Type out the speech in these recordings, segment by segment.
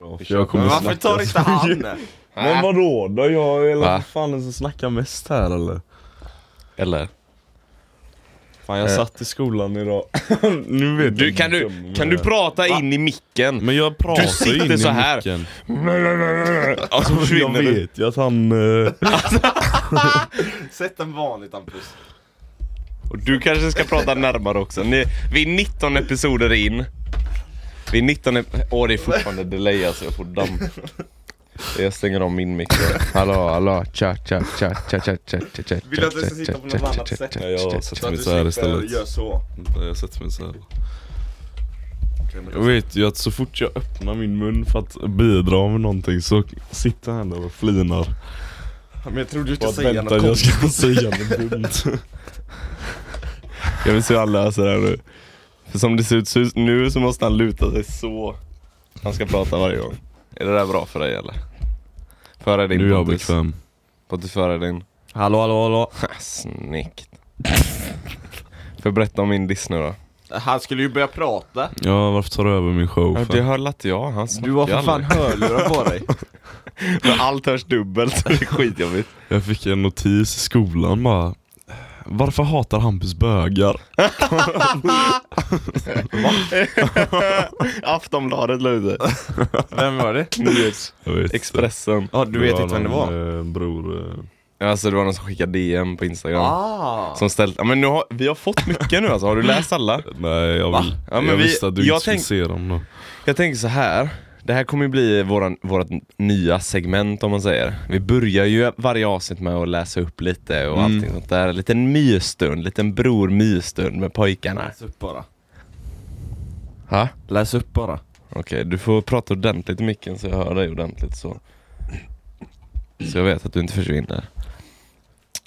för jag kommer Men varför snacka tar inte så han? mycket. Men vadå då? Jag är Va? Eh. väl fan den som snackar mest här eller? Eller? Fan jag Eh. satt i skolan idag Nu vet Du, jag kan, inte du, om- kan du prata in i micken? Men jag pratar sitter in i så här. micken. Och alltså, Jag så försvinner du. vet ju att han... eh, Sätt den vanligt Hampus. Och du kanske ska prata närmare också. Ni, vi är 19 episoder in. Vi är 19 ep- Åh det är fortfarande delay alltså, jag får damp. Jag stänger av min mick. Hallå, hallå, tja, tja, tja, tja, tja, tja, tja, tja, Vill du att jag ska sitta på något annat sätt? Nej, jag Så sätter att du mig så här slipper istället göra så. Jag sätter mig så här. Jag vet ju att så fort jag öppnar min mun för att bidra med någonting så sitter han där och flinar Men jag trodde du Bara skulle säga väntar något jag konstigt. ska säga något dumt Jag vill se hur han läser det här nu För som det ser ut så- nu så måste han luta sig så. Han ska prata varje gång. Är det där bra för dig eller? Föra din Nu är jag Pontus. bekväm Pontus föra din. Hallå hallå hallå Snyggt. För berätta om min diss nu då. Han skulle ju börja prata. Ja varför tar du över min show Ja, för? det höll att jag. Han Du har för fan hörlurar på dig. Men allt hörs dubbelt så det är skitjobbigt. Jag fick en notis i skolan bara Varför hatar Hampus bögar? Aftonbladet la ut det. Vem var det? Nyhets- Jag vet Expressen. Ja, du vet inte vem det var? Eh, bror eh, Alltså det var någon som skickade DM på Instagram. Ah! Som ställt, ja men nu har, vi har fått mycket nu alltså, har du läst alla? Nej jag, vill, Ja, men jag vi- visste att du jag inte skulle tänk- se dem då Jag tänker så här. Det här kommer ju bli våran, vårat nya segment om man säger. Vi börjar ju varje avsnitt med att läsa upp lite och Mm. allting sånt där. Liten mysstund, liten bror mysstund med pojkarna. Läs upp bara. Ha? Läs upp bara. Okej, du får prata ordentligt i micken så jag hör dig ordentligt så. Så jag vet att du inte försvinner.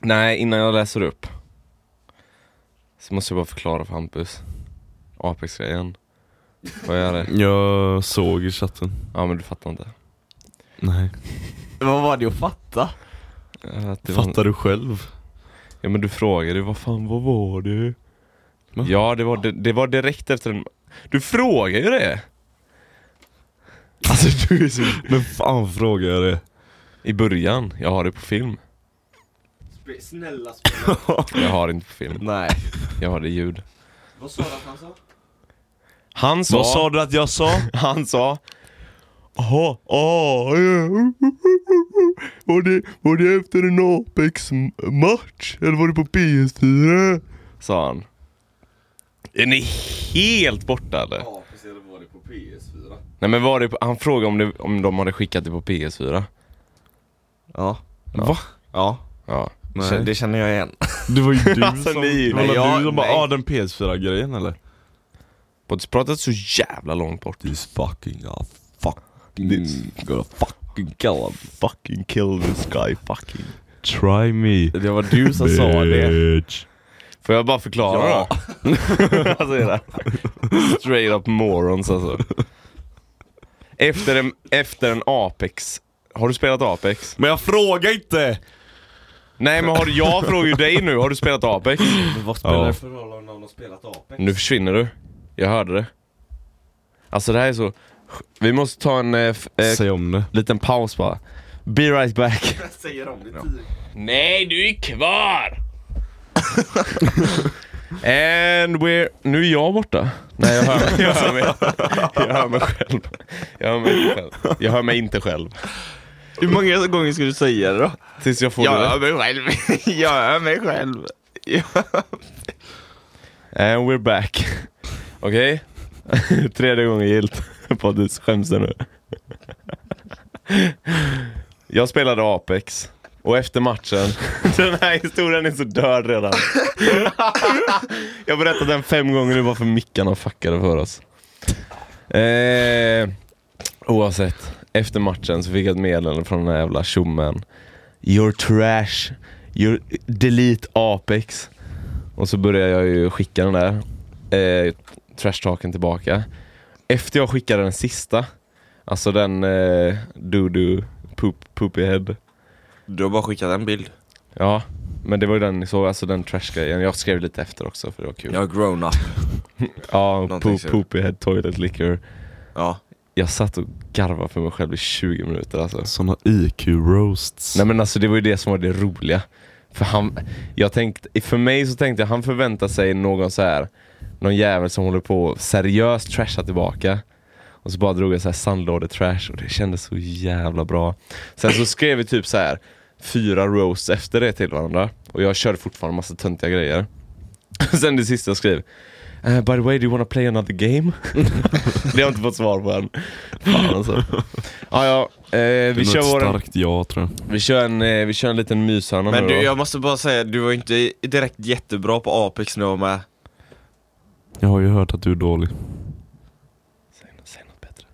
Nej, innan jag läser upp. Så måste jag bara förklara för Hampus. Apex-grejen. Vad är det? Jag såg i chatten Ja men du fattar inte. Nej Vad var det att fatta? Att det var- Fattar du själv? Ja men du frågade ju, vad fan vad var det? Va? Ja det var, det, det var direkt efter den... Du frågar ju det! Alltså du är så... Men fan frågar jag det? I början, jag har det på film. Snälla spela. Jag har det inte på film, Nej. jag har det i ljud. Vad sa du att han sa? Han sa... du att jag sa? Han sa... Jaha, ah, eh, var, det, var det efter en Apex-match? Eller var det på PS4? Sa han. Är ni helt borta eller? Ja, precis. Det var det på PS4. Nej men var det, på- han frågade om, det, om de hade skickat det på PS4 Ja. Va? Ja. Ja Nej. Det känner jag igen. Det var ju du Alltså, som, ni- det var Nej, jag- du som bara nej. ah den PS4-grejen eller? Pontus pratat så jävla långt bort This fucking uh, fucking gonna fucking kill him. Fucking kill this guy fucking Try me Det var du som sa det. Bitch. Får jag bara förklara Ja. då? alltså är det Straight up morons alltså Efter en, efter en Apex Har du spelat Apex? Men jag frågar inte! Nej men har, jag frågar ju dig nu, har du spelat Apex? Men vad spelar Ja. det för roll om någon har spelat Apex? Nu försvinner du Jag hörde det Alltså det här är så Vi måste ta en eh, f- eh, Säg om det liten paus bara. Be right back. Jag säger om det tio Nej, du är kvar! And we're... Nu är jag borta. Nej, jag hör, jag hör, mig. Jag hör mig själv. Jag hör mig inte själv. Jag hör mig inte själv. Hur många gånger ska du säga det då? Tills jag får mig det. själv. Jag hör mig själv. And we're back. Okej? Tredje gången gillt. Pontus, skäms du nu? Jag spelade Apex. Och efter matchen, den här historien är så död redan. Jag har berättat den fem gånger nu varför mickarna fuckade för oss. Eh, oavsett, efter matchen så fick jag ett meddelande från den här jävla tjommen. You're trash, you're delete Apex. Och så började jag ju skicka den där eh, trashtalken tillbaka. Efter jag skickade den sista, alltså den eh, do-do, poop, poopy head. Du har bara skickat en bild. Ja, men det var ju den ni såg, alltså den trashgrejen. Jag skrev lite efter också för det var kul. Jag är grown up. Ja, Någonting poop, ser du. poopy head, toilet liquor. Ja. Jag satt och garvade för mig själv i 20 minuter alltså. Såna IQ-roasts. Nej men alltså det var ju det som var det roliga. För, han, jag tänkte, för mig så tänkte jag han förväntar sig någon så här någon jävel som håller på och seriöst trasha tillbaka. Och så bara drog jag så här sandlådetrash och det kändes så jävla bra. Sen så skrev vi typ så här fyra roasts efter det till varandra. Och jag körde fortfarande massa töntiga grejer. Sen det sista jag skrev "Eh, By the way, do you wanna play another game? det har jag inte fått svar på än. Fan alltså. Ja, ja. Eh, Det är vi, nog ett kör våran, starkt ja tror jag. vi, kör en, eh, vi kör en liten myshörna Men nu du, då. jag måste bara säga, du var ju inte direkt jättebra på Apex nu med. Jag har ju hört att du är dålig. Säg, nå- säg något bättre.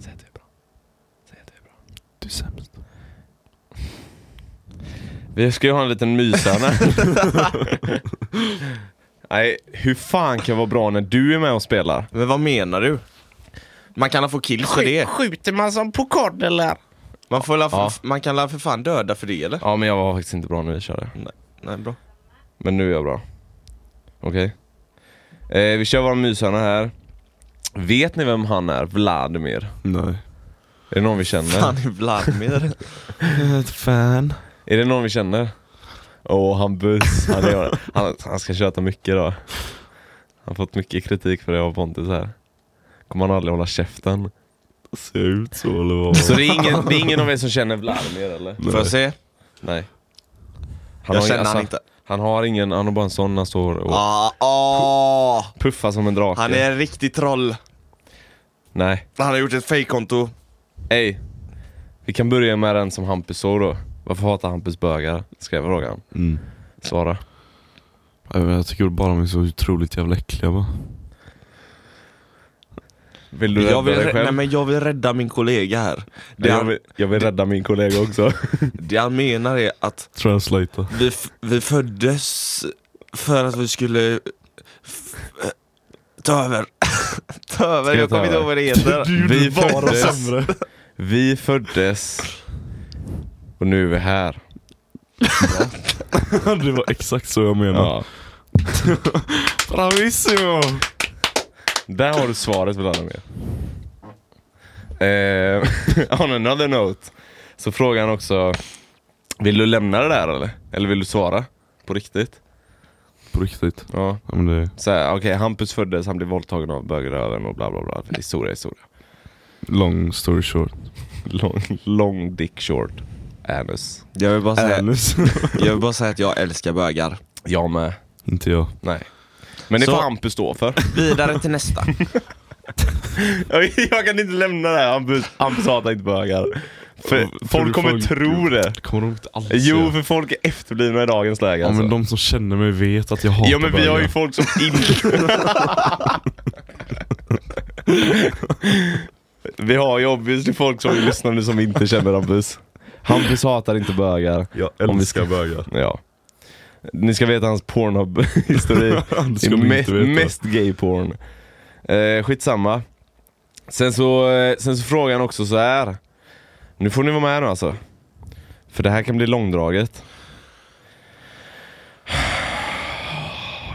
Säg att du är bra. Säg att du är bra. Du är sämst. Vi ska ju ha en liten myshörna. Nej, hur fan kan jag vara bra när du är med och spelar? Men vad menar du? Man kan la få kills för det? Skjuter man som på kod eller? Man, får la Ja. man kan la för fan döda för det eller? Ja, men jag var faktiskt inte bra när vi körde. Nej, bra. Men nu är jag bra. Okej. Eh, vi kör vår myshörna här. Vet ni vem han är? Vladimir. Nej. Är det någon vi känner? Han är Vladimir. Ett fan. Är det någon vi känner? Åh, han Bus. Han, är, han, han ska köta mycket idag. Han har fått mycket kritik för det av Pontus här. Kommer han aldrig hålla käften. Ser jag ut så eller vad? Så det är ingen, det är ingen av er som känner Vladimir eller? Nej. Får jag se? Nej. Han Jag har- känner alltså, han inte. Han har ingen, han har bara en sån han står och Ah, ah, puffar som en drake. han är en riktig troll. Nej. Han har gjort ett fejkkonto. Ey. Vi kan börja med den som Hampus såg då. Varför hatar Hampus bögar? Skrev frågan. Mm. Svara. Jag, vet, jag tycker bara de är så otroligt jävla äckliga va? Vill du rädda Jag vill, dig rä- själv? nej, men jag vill rädda min kollega här. Det jag, han, vill, jag vill rädda min kollega också. det han menar är att Translata. vi, f- vi föddes för att vi skulle f- eh, ta över. ta över, jag jag ta kommer inte över? ihåg vad det heter. Vi föddes, vi föddes och nu är vi här. det var exakt så jag menade. Ja. Bravissimo! Där har du svaret Vladimir. Eh, on another note så frågar han också, vill du lämna det där eller? Eller vill du svara? På riktigt? På riktigt. Ja. Ja, men det, Så här, Okej, Hampus föddes, han blev våldtagen av bögröven och bla bla bla. Historia, historia. long story short. Long, long dick short. Anus. Jag vill, bara Eh, säga, Anus. jag vill bara säga att jag älskar bögar. Jag med. Inte jag. Nej. Men det Så- får Hampus stå för. Vidare till nästa. Jag kan inte lämna det här, Hampus, Hampus hatar inte bögar. För, För folk du kommer får- tro det. Kommer de inte alls Jo, göra. för folk är efterblivna i dagens läge Ja alltså. men de som känner mig vet att jag hatar Ja men vi har ju folk som inte... vi har ju obviously folk som lyssnar nu som inte känner Hampus. Hampus hatar inte bögar. Jag Om vi ska- älskar bögar. Ja. Ni ska veta hans Pornhub-historik. Det Det ska är de mest, inte veta. mest gayporn. Eh, skitsamma. Sen så, eh, sen så frågar han också så här. Nu får ni vara med nu alltså. För det här kan bli långdraget.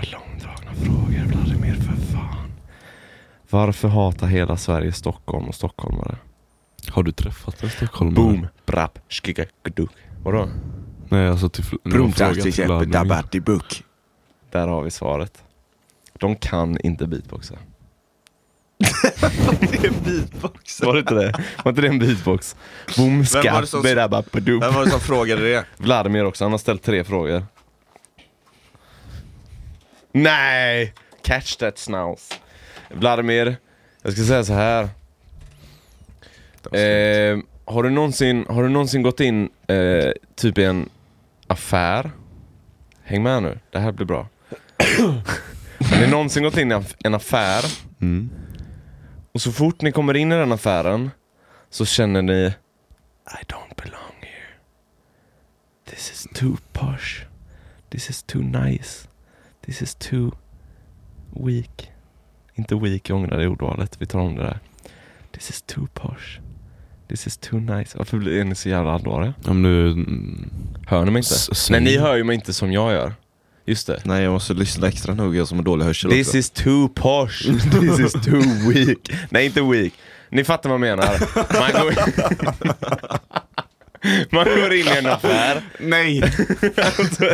Långdragna frågor Vladimir för fan. Varför hatar hela Sverige Stockholm och stockholmare? Har du träffat en stockholmare? Boom, brap, skicka, gduk. Vadå? Nej alltså till... fl- när jag har frågat till Vladimir. Buk. Där har vi svaret. De kan inte beatboxa. Det är beatboxen. Var det inte det? Var inte det en beatbox? Boom, Vem var det skatt, som- bedababadoop. Vem var det som frågade det? Vladimir också, han har ställt tre frågor. Nej! Catch that snouse. Vladimir, jag ska säga så här. Eh, har, du någonsin, har du någonsin gått in eh, typ i en affär? Häng med nu, det här blir bra. har ni någonsin gått in i aff- en affär Mm. och så fort ni kommer in i den affären så känner ni I don't belong here. This is too posh. This is too nice. This is too weak. Inte weak, jag ångrar det ordvalet. Vi tar om det där. This is too posh. This is too nice. Varför blir ni så jävla allvarliga? Ja men du... Hör ni mig inte? Nej, ni hör ju mig inte som jag gör. Just det. Nej jag måste lyssna extra noga som har dålig hörsel This is too posh. This is too weak. Nej, inte weak. Ni fattar vad jag menar. Man går, man går in i en affär Nej! och så,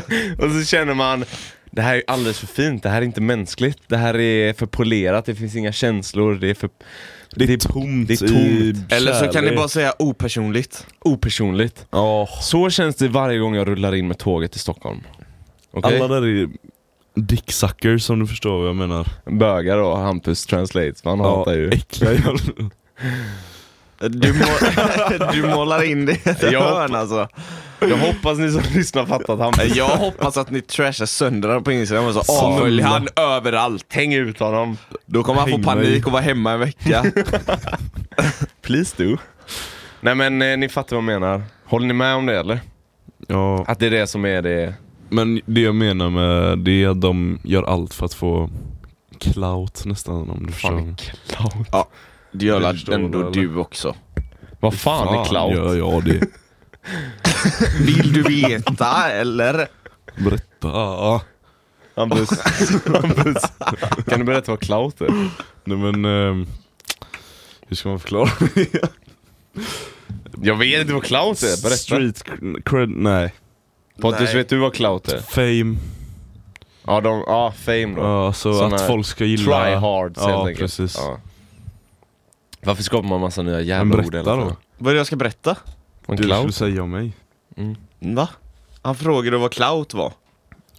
och så känner man det här är alldeles för fint, det här är inte mänskligt, det här är för polerat, det finns inga känslor, det är för... Det är tomt. Det är tomt. Eller så kan ni Kärlek. bara säga opersonligt. Opersonligt. Så känns det varje gång jag rullar in med tåget till Stockholm. Okej? Alla där är dicksuckers som du förstår vad jag menar. Bögar då, Hampus translates, man hatar ju. äckliga jävlar. Du, må- du målar in det i ett Jag hörn alltså. Jag hoppas ni som lyssnar fattat Hampus. Eh, Jag hoppas att ni trashar sönder honom på Instagram alltså. Ah, och så Snälla. avfölj han överallt. Häng ut honom. Då kommer han få Häng panik mig. och vara hemma en vecka. Please do. Nej men eh, ni fattar vad jag menar. Håller ni med om det eller? Ja, Att det är det som är det... men det jag menar med det är att de gör allt för att få clout nästan om du förstår. Fan, clout. Det gör Du väl förstår ändå det, eller? du också. Vad fan, är clout? gör jag det? Vill du veta eller? Berätta. Hampus. Hampus. Kan du berätta vad clout är? Nej men, ehm, hur ska man förklara? Jag vet inte vad clout är, berätta. Street cred, nej. Pontus, Nej. vet du vad clout är? Fame. Ja, de, ja fame då. Ja, så Såna att folk ska gilla... Try hard Ja, helt enkelt. precis. Ja. Varför skapar man massa nya Men jävla ord berätta då. Vad är det jag ska berätta? Om Du skulle clout? säga om mig. Mm, Va? Han frågade vad clout var.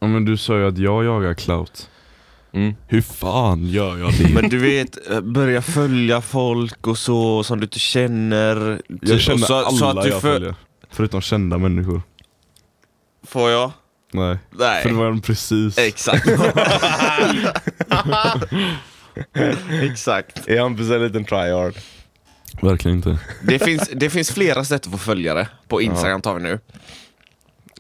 Ja men du sa ju att jag jagar clout. Mm. Hur fan gör jag det? Men du vet, eh, börja följa folk och så som du inte känner. Typ, Jag känner Och så, alla så att du jag föl- följer. Förutom kända människor. Får jag? Nej. Nej. För det var de precis. Exakt. Exakt. Är Hampus en liten try hard? Verkligen inte. Det finns, det finns flera sätt att få följare. På Instagram tar vi nu.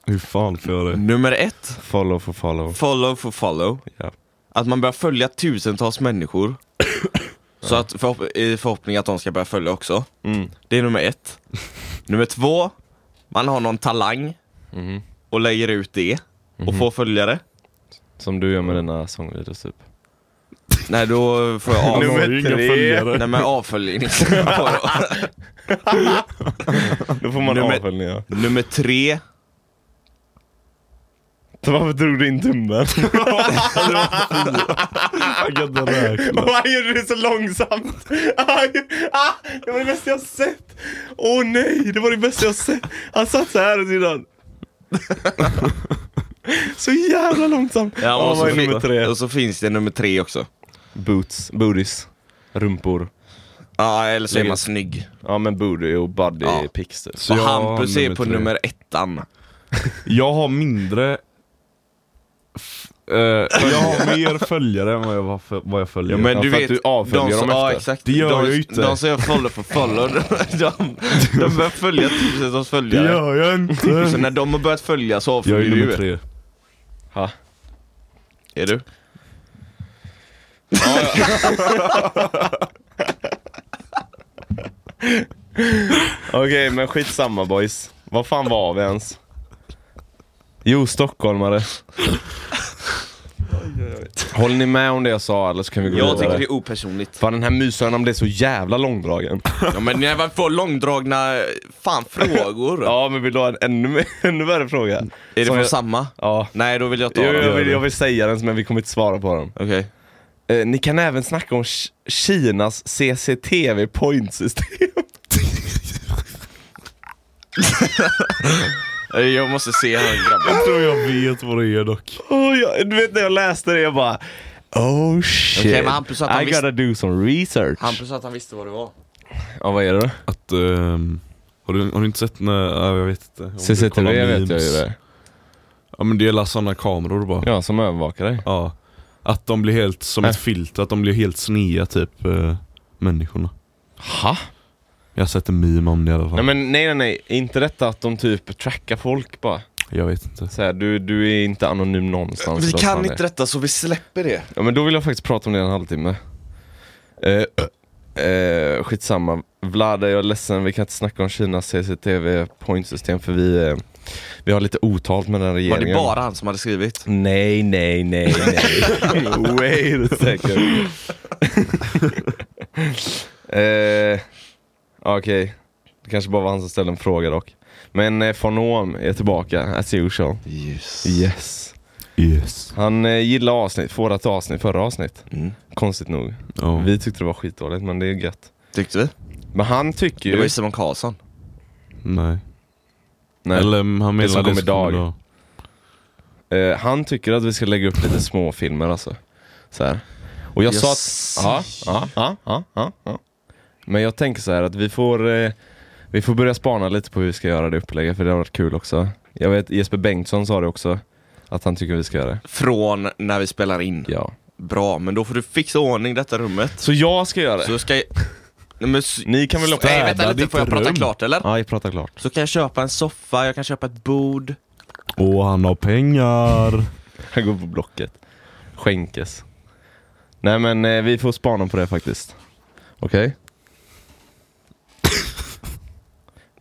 Hur fan får jag det? Nummer ett, Follow for follow. follow for follow. Ja. Att man börjar följa tusentals människor. Så att förhopp- i förhoppning att de ska börja följa också. Mm. Det är nummer ett. Nummer två, man har någon talang Mm-hmm. Mhm. och lägger ut det och får följare. Som du gör med dina sångvideos typ. Nej, då får jag Han av... Nummer har ju inga tre. följare. Nej men avföljning. får jag. Då får man Nummer- avföljningar. Nummer tre, Så Varför drog du in tummen? Jag kan inte räkna. han gjorde det så långsamt! Aj, ah, det var det bästa jag sett! Åh oh, nej, det var det bästa jag sett! Han satt så här åt sidan. Så jävla långsamt! Ja, Ja, och, vad är så fin- nummer tre? och så finns det nummer tre också. Boots, booties, rumpor. Ja, eller så är Lägger- man snygg. Ja men booty och body Ja. pics typ. Så och jag har Hampus är på tre. nummer ettan. Jag har mindre... f- eh, jag har mer följare än vad jag, var för, vad jag följer. Ja, men du för att vet, avföljer de dem som, ja, efter. exakt. Det gör de, jag ju inte. De som jag follow for follow, de, de, de börjar följa tusentals följare. jag Så inte. när de har börjat följa så Jag avföljer är nummer du. tre. Ha. Är du? Okej men skitsamma boys. Vad fan var vi ens? Jo, stockholmare. Håller ni med om det jag sa eller så kan vi gå Jag vidare? tycker det är opersonligt. Fan den här myshörnan blev så jävla långdragen. Ja, men när man får långdragna fan frågor. Ja men vill du ha en ännu, mer- ännu värre fråga? Är det Som från jag- samma? Ja. Nej, då vill jag ta Jo, dem. jag, Okej. vill, jag vill säga den men vi kommer inte svara på den. Eh, ni kan även snacka om Ki- Kinas CCTV pointsystem. Eh, Jag måste se här grabben. Jag tror jag vet vad det är dock. Oh, jag, du vet när jag läste det jag bara Oh shit, Okej, men Hampus, att han I visst- gotta do some research. Hampus sa att han visste vad det var. Ja vad är det då? Att, ehm, har, du, har du inte sett när, ja, jag vet inte. Om du kollar CCTV vet memes. jag ju det. Ja men det är alla sådana kameror bara. Ja. Ja som övervakar dig. Att de blir helt, som Äh. ett filter, att de blir helt snea typ, eh, människorna. Ha? Jag har sett en meme om det i alla fall. Nej men nej nej nej, Är inte detta att de typ trackar folk bara. Jag vet inte. Så här, du, du är inte anonym någonstans. Vi eller vad fan kan det är. inte detta så vi släpper det. Ja men då vill jag faktiskt prata om det en halvtimme. Eh, eh, skitsamma. Vlad, jag är ledsen, vi kan inte snacka om Kinas CCTV pointsystem för vi, eh, vi har lite otalt med den här Var det regeringen. bara han som hade skrivit? Nej, nej, nej, nej. Wait a second. Eh, ja, Okej, det kanske bara var han som ställde en fråga dock. Men eh, Fanom är tillbaka, as usual. Yes. Yes. Yes. Han eh, gillar avsnitt, vårat avsnitt, förra avsnitt. Mm. Konstigt nog. Ja. Vi tyckte det var skitdåligt men det är gött. Tyckte vi? Men han tycker Det var ju... ju Simon Karlsson. Nej. Nej, Eller mm, han menar som kom idag. då. eh, han tycker att vi ska lägga upp lite småfilmer alltså. Så här. Och jag sa att... Ja, ja, ja, ja, ja, ja. Men jag tänker så här att vi får, eh, vi får börja spana lite på hur vi ska göra det upplägget för det har varit kul också. Jag vet Jesper Bengtsson sa det också, att han tycker vi ska göra det. Från när vi spelar in. Ja. Bra, men då får du fixa ordning i detta rummet. Så jag ska göra det? Så ska jag... Nej, men... s- Ni kan väl också... Nej, vänta lite, ditt får jag prata rum. klart eller? Ja, jag pratar klart. Så kan jag köpa en soffa, jag kan köpa ett bord. Och han har pengar. Jag går på Blocket. Skänkes. Nej men eh, vi får spana på det faktiskt. Okej?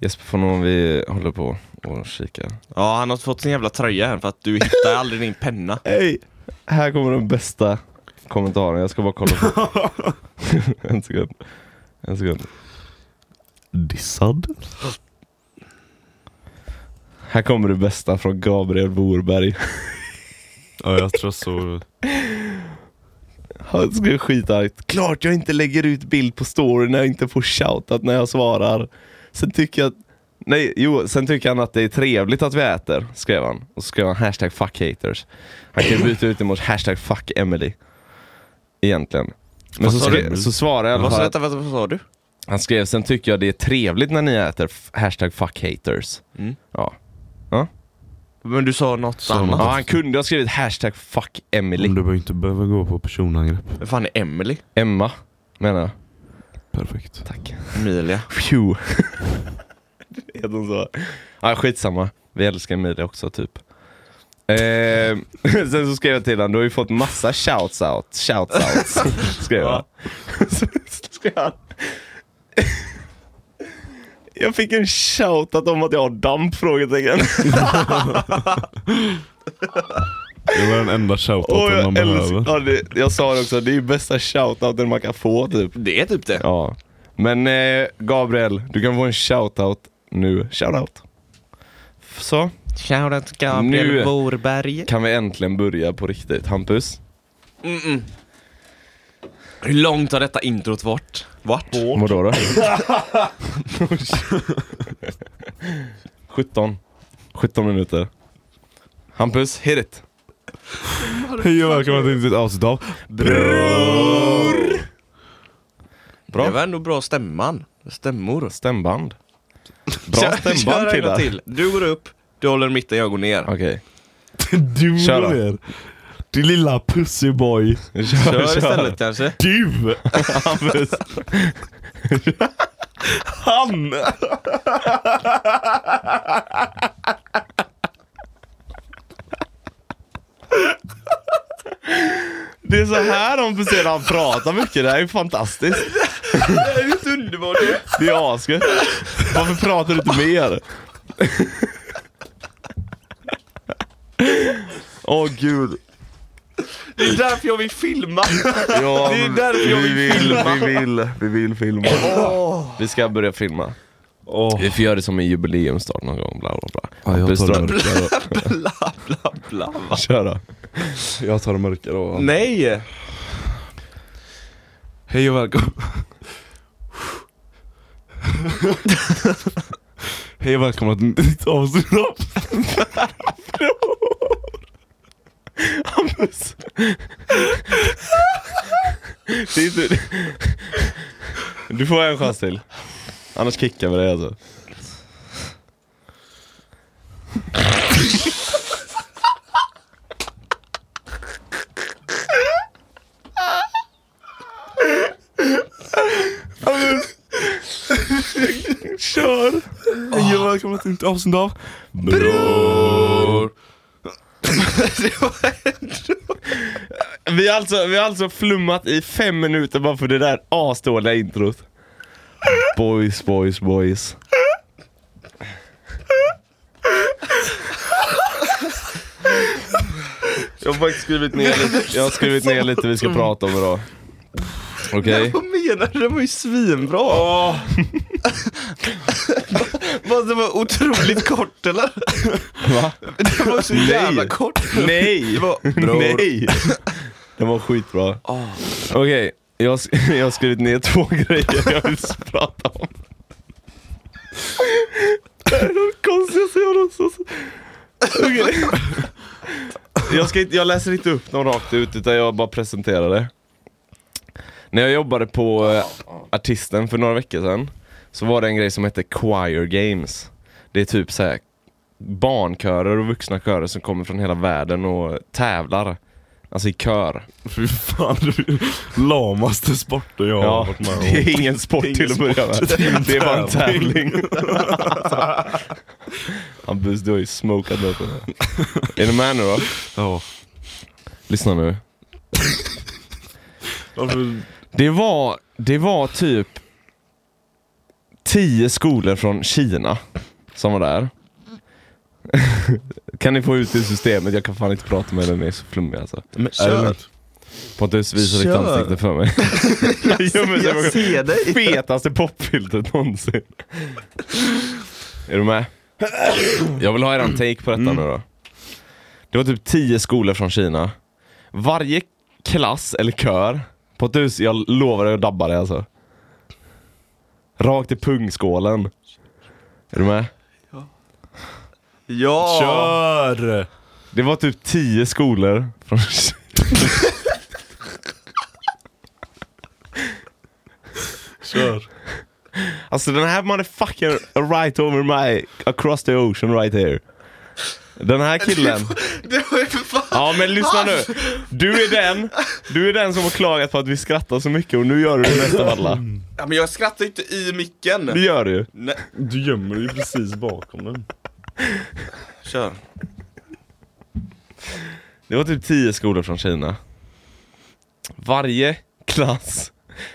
Jesper får nog vi håller på och kika. Ja, han har fått sin jävla tröja än för att du hittar aldrig din penna. Hej! Här kommer den bästa kommentaren, jag ska bara kolla på En sekund. En sekund. Dissad. Här kommer det bästa från Gabriel Borberg. Ja jag tror så. Han skrev skitargt. Klart jag inte lägger ut bild på story när jag inte får shoutout när jag svarar. Sen tycker jag att... Nej, jo, sen tycker han att det är trevligt att vi äter, skrev han. Och så skrev han hashtag fuck haters. Han kan ju byta ut det mot hashtag fuck Emily. Egentligen. Men Vad så, sa skrev, du? så svarade jag i alla Vad fall sa, att- vänta, vänta, vad sa du? Han skrev, sen tycker jag det är trevligt när ni äter, f- hashtag fuck haters. Mm. Ja. Men du sa något Sa annat. något. ja, han kunde ha skrivit hashtag fuck Emily. Men Mm. du behöver inte behöva gå på personangrepp. Vem fan är Emily? Emma, menar jag. Perfekt. Tack. Emilia. Phew. Det heter hon så? Ja, skitsamma. Vi älskar Emilia också, typ. Eh, sen så skrev jag till honom, du har ju fått massa shouts out, shouts out. skrev jag. så skrev han. jag fick en shoutout om att jag har damp? Frågetecken. Det var den enda Åh, shoutouten man jag, älskar, behöver. ja, det, jag sa det också, det är ju bästa shoutouten man kan få typ. Det är typ det. Ja. Men eh, Gabriel, du kan få en shoutout nu. Shoutout. F- Så, Shoutout till Gabriel Nu- Borberg. kan vi äntligen börja på riktigt. Hampus? Mm-mm. Hur långt har detta introt varit? Vart? Vadå då? 17. 17 minuter. Hampus, hit it. Hej och välkomna till ett avsnitt av Det Bra. var ändå bra stämman. Stämmor. Stämband. Bra stämband kör en gång killar. till. Du går upp, du håller i mitten, jag går ner. Okej. Du Kör då. och ner. Din lilla pussyboy. Kör, Kör istället kanske. Du! Hampus. Han! Det är så här Hampus är när han pratar mycket. Det här är ju fantastiskt. Det är ju underbart Det är asgött. Varför pratar du inte mer? Åh gud. Det är därför jag vill filma. Ja, Det är därför jag vi vill filma. Vi vill, vi vill filma. Vi ska börja filma. Åh, Vi får göra det som en jubileumsstart någon gång. Bla, bla, bla. Ja, jag Hampus tar det drar- Bla, bla, bla. va? Kör då. jag tar det mörka då. Nej! Hej och välkomna. Hej och välkomna till ett nytt avsnitt av Hampus. Det är inte... Du får en chans till. Annars kickar vi dig alltså. Kör! Hej och välkomna till ett nytt avsnitt av Bror! Vi har alltså, vi har alltså flummat i fem minuter bara för det där asdåliga introt. Boys, boys, boys. Jag har faktiskt skrivit ner lite, jag har skrivit ner lite vi ska prata om idag. Okej? Vad menar menar du? Den var ju svinbra! Vad, den var otroligt kort eller? Va? Den var så jävla Nej. kort! Nej! Det var, Nej! Den var skitbra. Okej, jag, har sk- jag har skrivit ner två grejer jag vill prata om. Det här är de konstigaste jag någonsin Okej. Jag, ska inte, jag läser inte upp dem rakt ut utan jag bara presenterar det. När jag jobbade på eh, Artisten för några veckor sedan så var det en grej som hette Choir Games. Det är typ så här barnkörer och vuxna körer som kommer från hela världen och tävlar. Alltså i kör. Fy fan, det är den lamaste sporten jag har Ja, varit med om. det är ingen sport Det är ingen till att börja med. sport, det är en Det är bara en tävling. tävling. Hampus, du har ju smokat upp det här. Är ni med nu då? Ja. Lyssna nu. Varför? Det var, det var typ tio skolor från Kina som var där. kan ni få ut det ur systemet? Jag kan fan inte prata med den, den är så flummig alltså. Men, kör. Pontus visar ditt Kör. ansikte för mig. jag gömmer sig jag bakom ser dig! fetaste popfiltret någonsin. Är du med? Jag vill ha eran take på detta nu då. Det var typ 10 skolor från Kina. Varje klass eller kör, på ett hus, jag lovar dig att dabba dig alltså. Rakt i pungskålen. Är du med? Ja! Kör! Det var typ 10 skolor från Kina. Kör. Alltså den här motherfucker right over my, across the ocean right here. Den här killen. Det var ju för fan... Ja men lyssna nu. Du är den, du är den som har klagat på att vi skrattar så mycket och nu gör du det mest av alla. Ja, men jag skrattar inte i micken! Det gör du ju. Nej, Du gömmer dig ju precis bakom den. kör. Det var typ 10 skolor från Kina. Varje klass,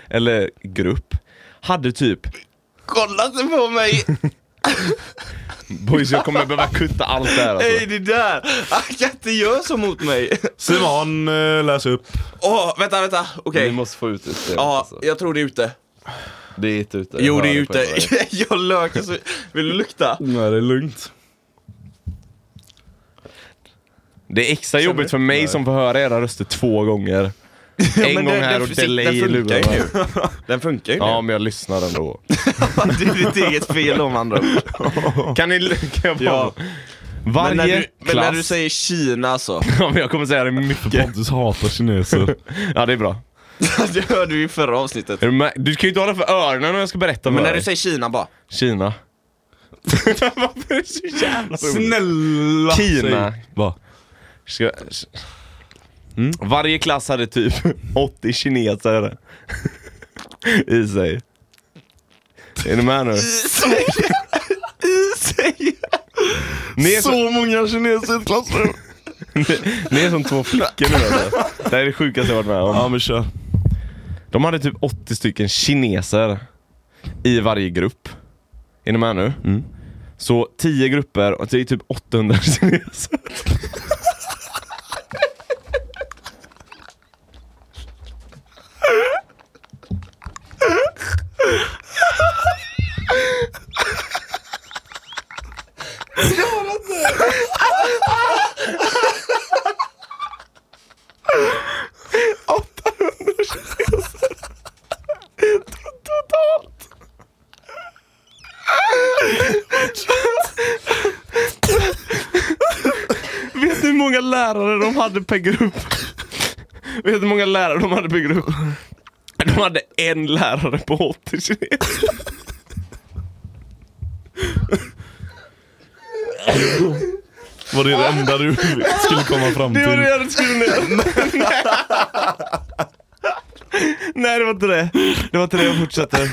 eller grupp, hade typ Kolla inte på mig! Boys jag kommer behöva kutta allt det här Hej alltså. det där! Han kan inte göra så mot mig! Simon, eh, läs upp. Åh, vänta, vänta, okej. Vi måste få ut det. systemet, Ja, alltså. jag tror det är ute. Det är inte ute. Jo, Jag det är hör på ute. dig. jag lökar så... Vill du lukta? Nej, det är lugnt. Det är extra jobbigt för mig som får höra era röster två gånger. En gång här och delay i lurarna. nu. Den funkar ju nu. Ja men jag lyssnar ändå. det är ditt eget fel om andra ord. Kan ni, kan jag bara... Ja. Varje Men när, du, klass... men när du säger Kina alltså. så. Ja men jag kommer säga det mycket. Pontus hatar kineser. Ja det är bra. det hörde vi i förra avsnittet. Är du, med? du kan ju inte hålla för öronen när jag ska berätta för Men när dig. du säger Kina bara. Kina. Varför är det så jävla roligt? Snälla! Kina. säg. Va? Ska... Mm. Varje klass hade typ 80 kineser i sig. Är ni med nu? I sig. Ni är, som, många kineser i ett klassrum! ni är som två flickor nu alltså. Det här är det sjukaste jag varit med om. Ja men kör. De hade typ 80 stycken kineser i varje grupp. Är ni med nu? Så 10 grupper, och det är typ 800 kineser. Vet ni hur många lärare de hade per grupp? Vet ni hur många lärare de hade per grupp? De hade en lärare på 80 kineser. Var det det enda du skulle komma fram Det var det till? jag hade skrivit ner. Nej det var inte det. Det var inte det jag fortsätter.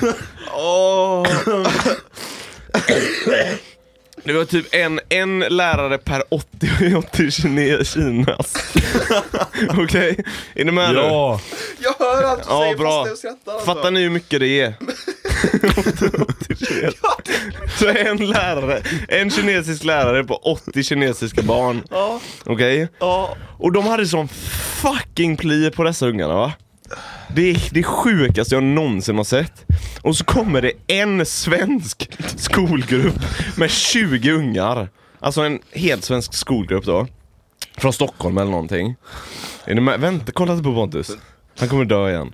Åh. Det var typ en, en lärare per 80, 80 kine, Kinas. Okej? Är ni med nu? Ja! Jag hör allt du Ja, säger bra. fast jag skrattar alltså. Fattar ni hur mycket det är? 80 kines. Så en lärare, en kinesisk lärare på 80 kinesiska barn. Ja, Okej? ja. Och de hade sån fucking pli på dessa ungarna va? Det är det sjukaste jag någonsin har sett. Och så kommer det en svensk skolgrupp med 20 ungar. Alltså en helt svensk skolgrupp då. Från Stockholm eller någonting. Är ni med? Vänta, kolla inte på Pontus. Han kommer dö igen.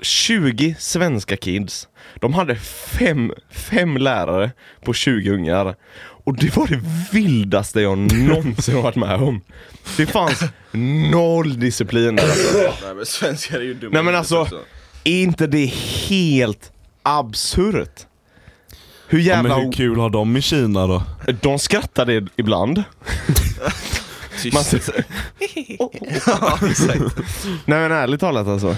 20 svenska kids. De hade fem, fem lärare på 20 ungar. Och det var det vildaste jag någonsin har varit med om. Det fanns noll disciplin där. Nej men svenskar är ju dumma Nej men alltså, också. är inte det helt absurt? Hur Ja, jävla... men hur kul har de i Kina då? De skrattade ibland. Tyst. Man ja, exakt. Nej men ärligt talat alltså.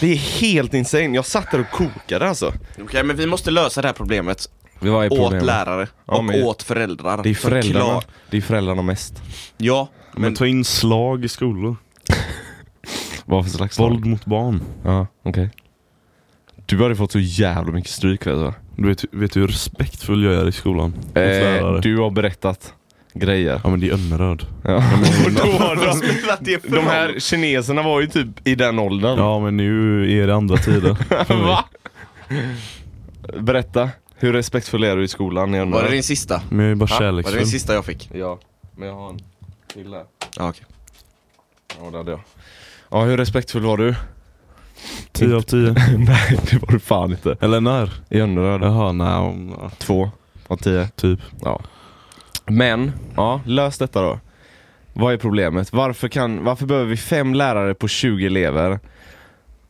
Det är helt insane. Jag satt där och kokade alltså. Okej men vi måste lösa det här problemet Det var åt lärare Ja, och men- åt föräldrar. Det är föräldrarna. Förklar- Det är föräldrarna mest. Ja, Men, ta in slag i skolor. Vad för slags Våld mot barn. Ja, okej. Du hade fått så jävla mycket stryk vet du Du vet, vet du hur respektfull jag är i skolan? Mot lärare. Eh, Du har berättat grejer. Ja men det är Önneröd. Och då har de, de här kineserna var ju typ i den åldern. Ja men nu är det andra tider. för mig. Va? Berätta, hur respektfull är du i skolan? Jag var undrar. det din sista? Men jag är bara Ha? Var det kärleksfull. den sista jag fick? Ja, men jag har en till där. Ja, okej. Ja, det hade jag. Ja, hur respektfull var du? 10 av 10. nej, det var du fan inte. Eller när? I Önneröd? Jaha, nej. om- ja, Två av tio. Typ. Ja. Men, ja, lös detta då. Vad är problemet? Varför, kan, varför behöver vi fem lärare på 20 elever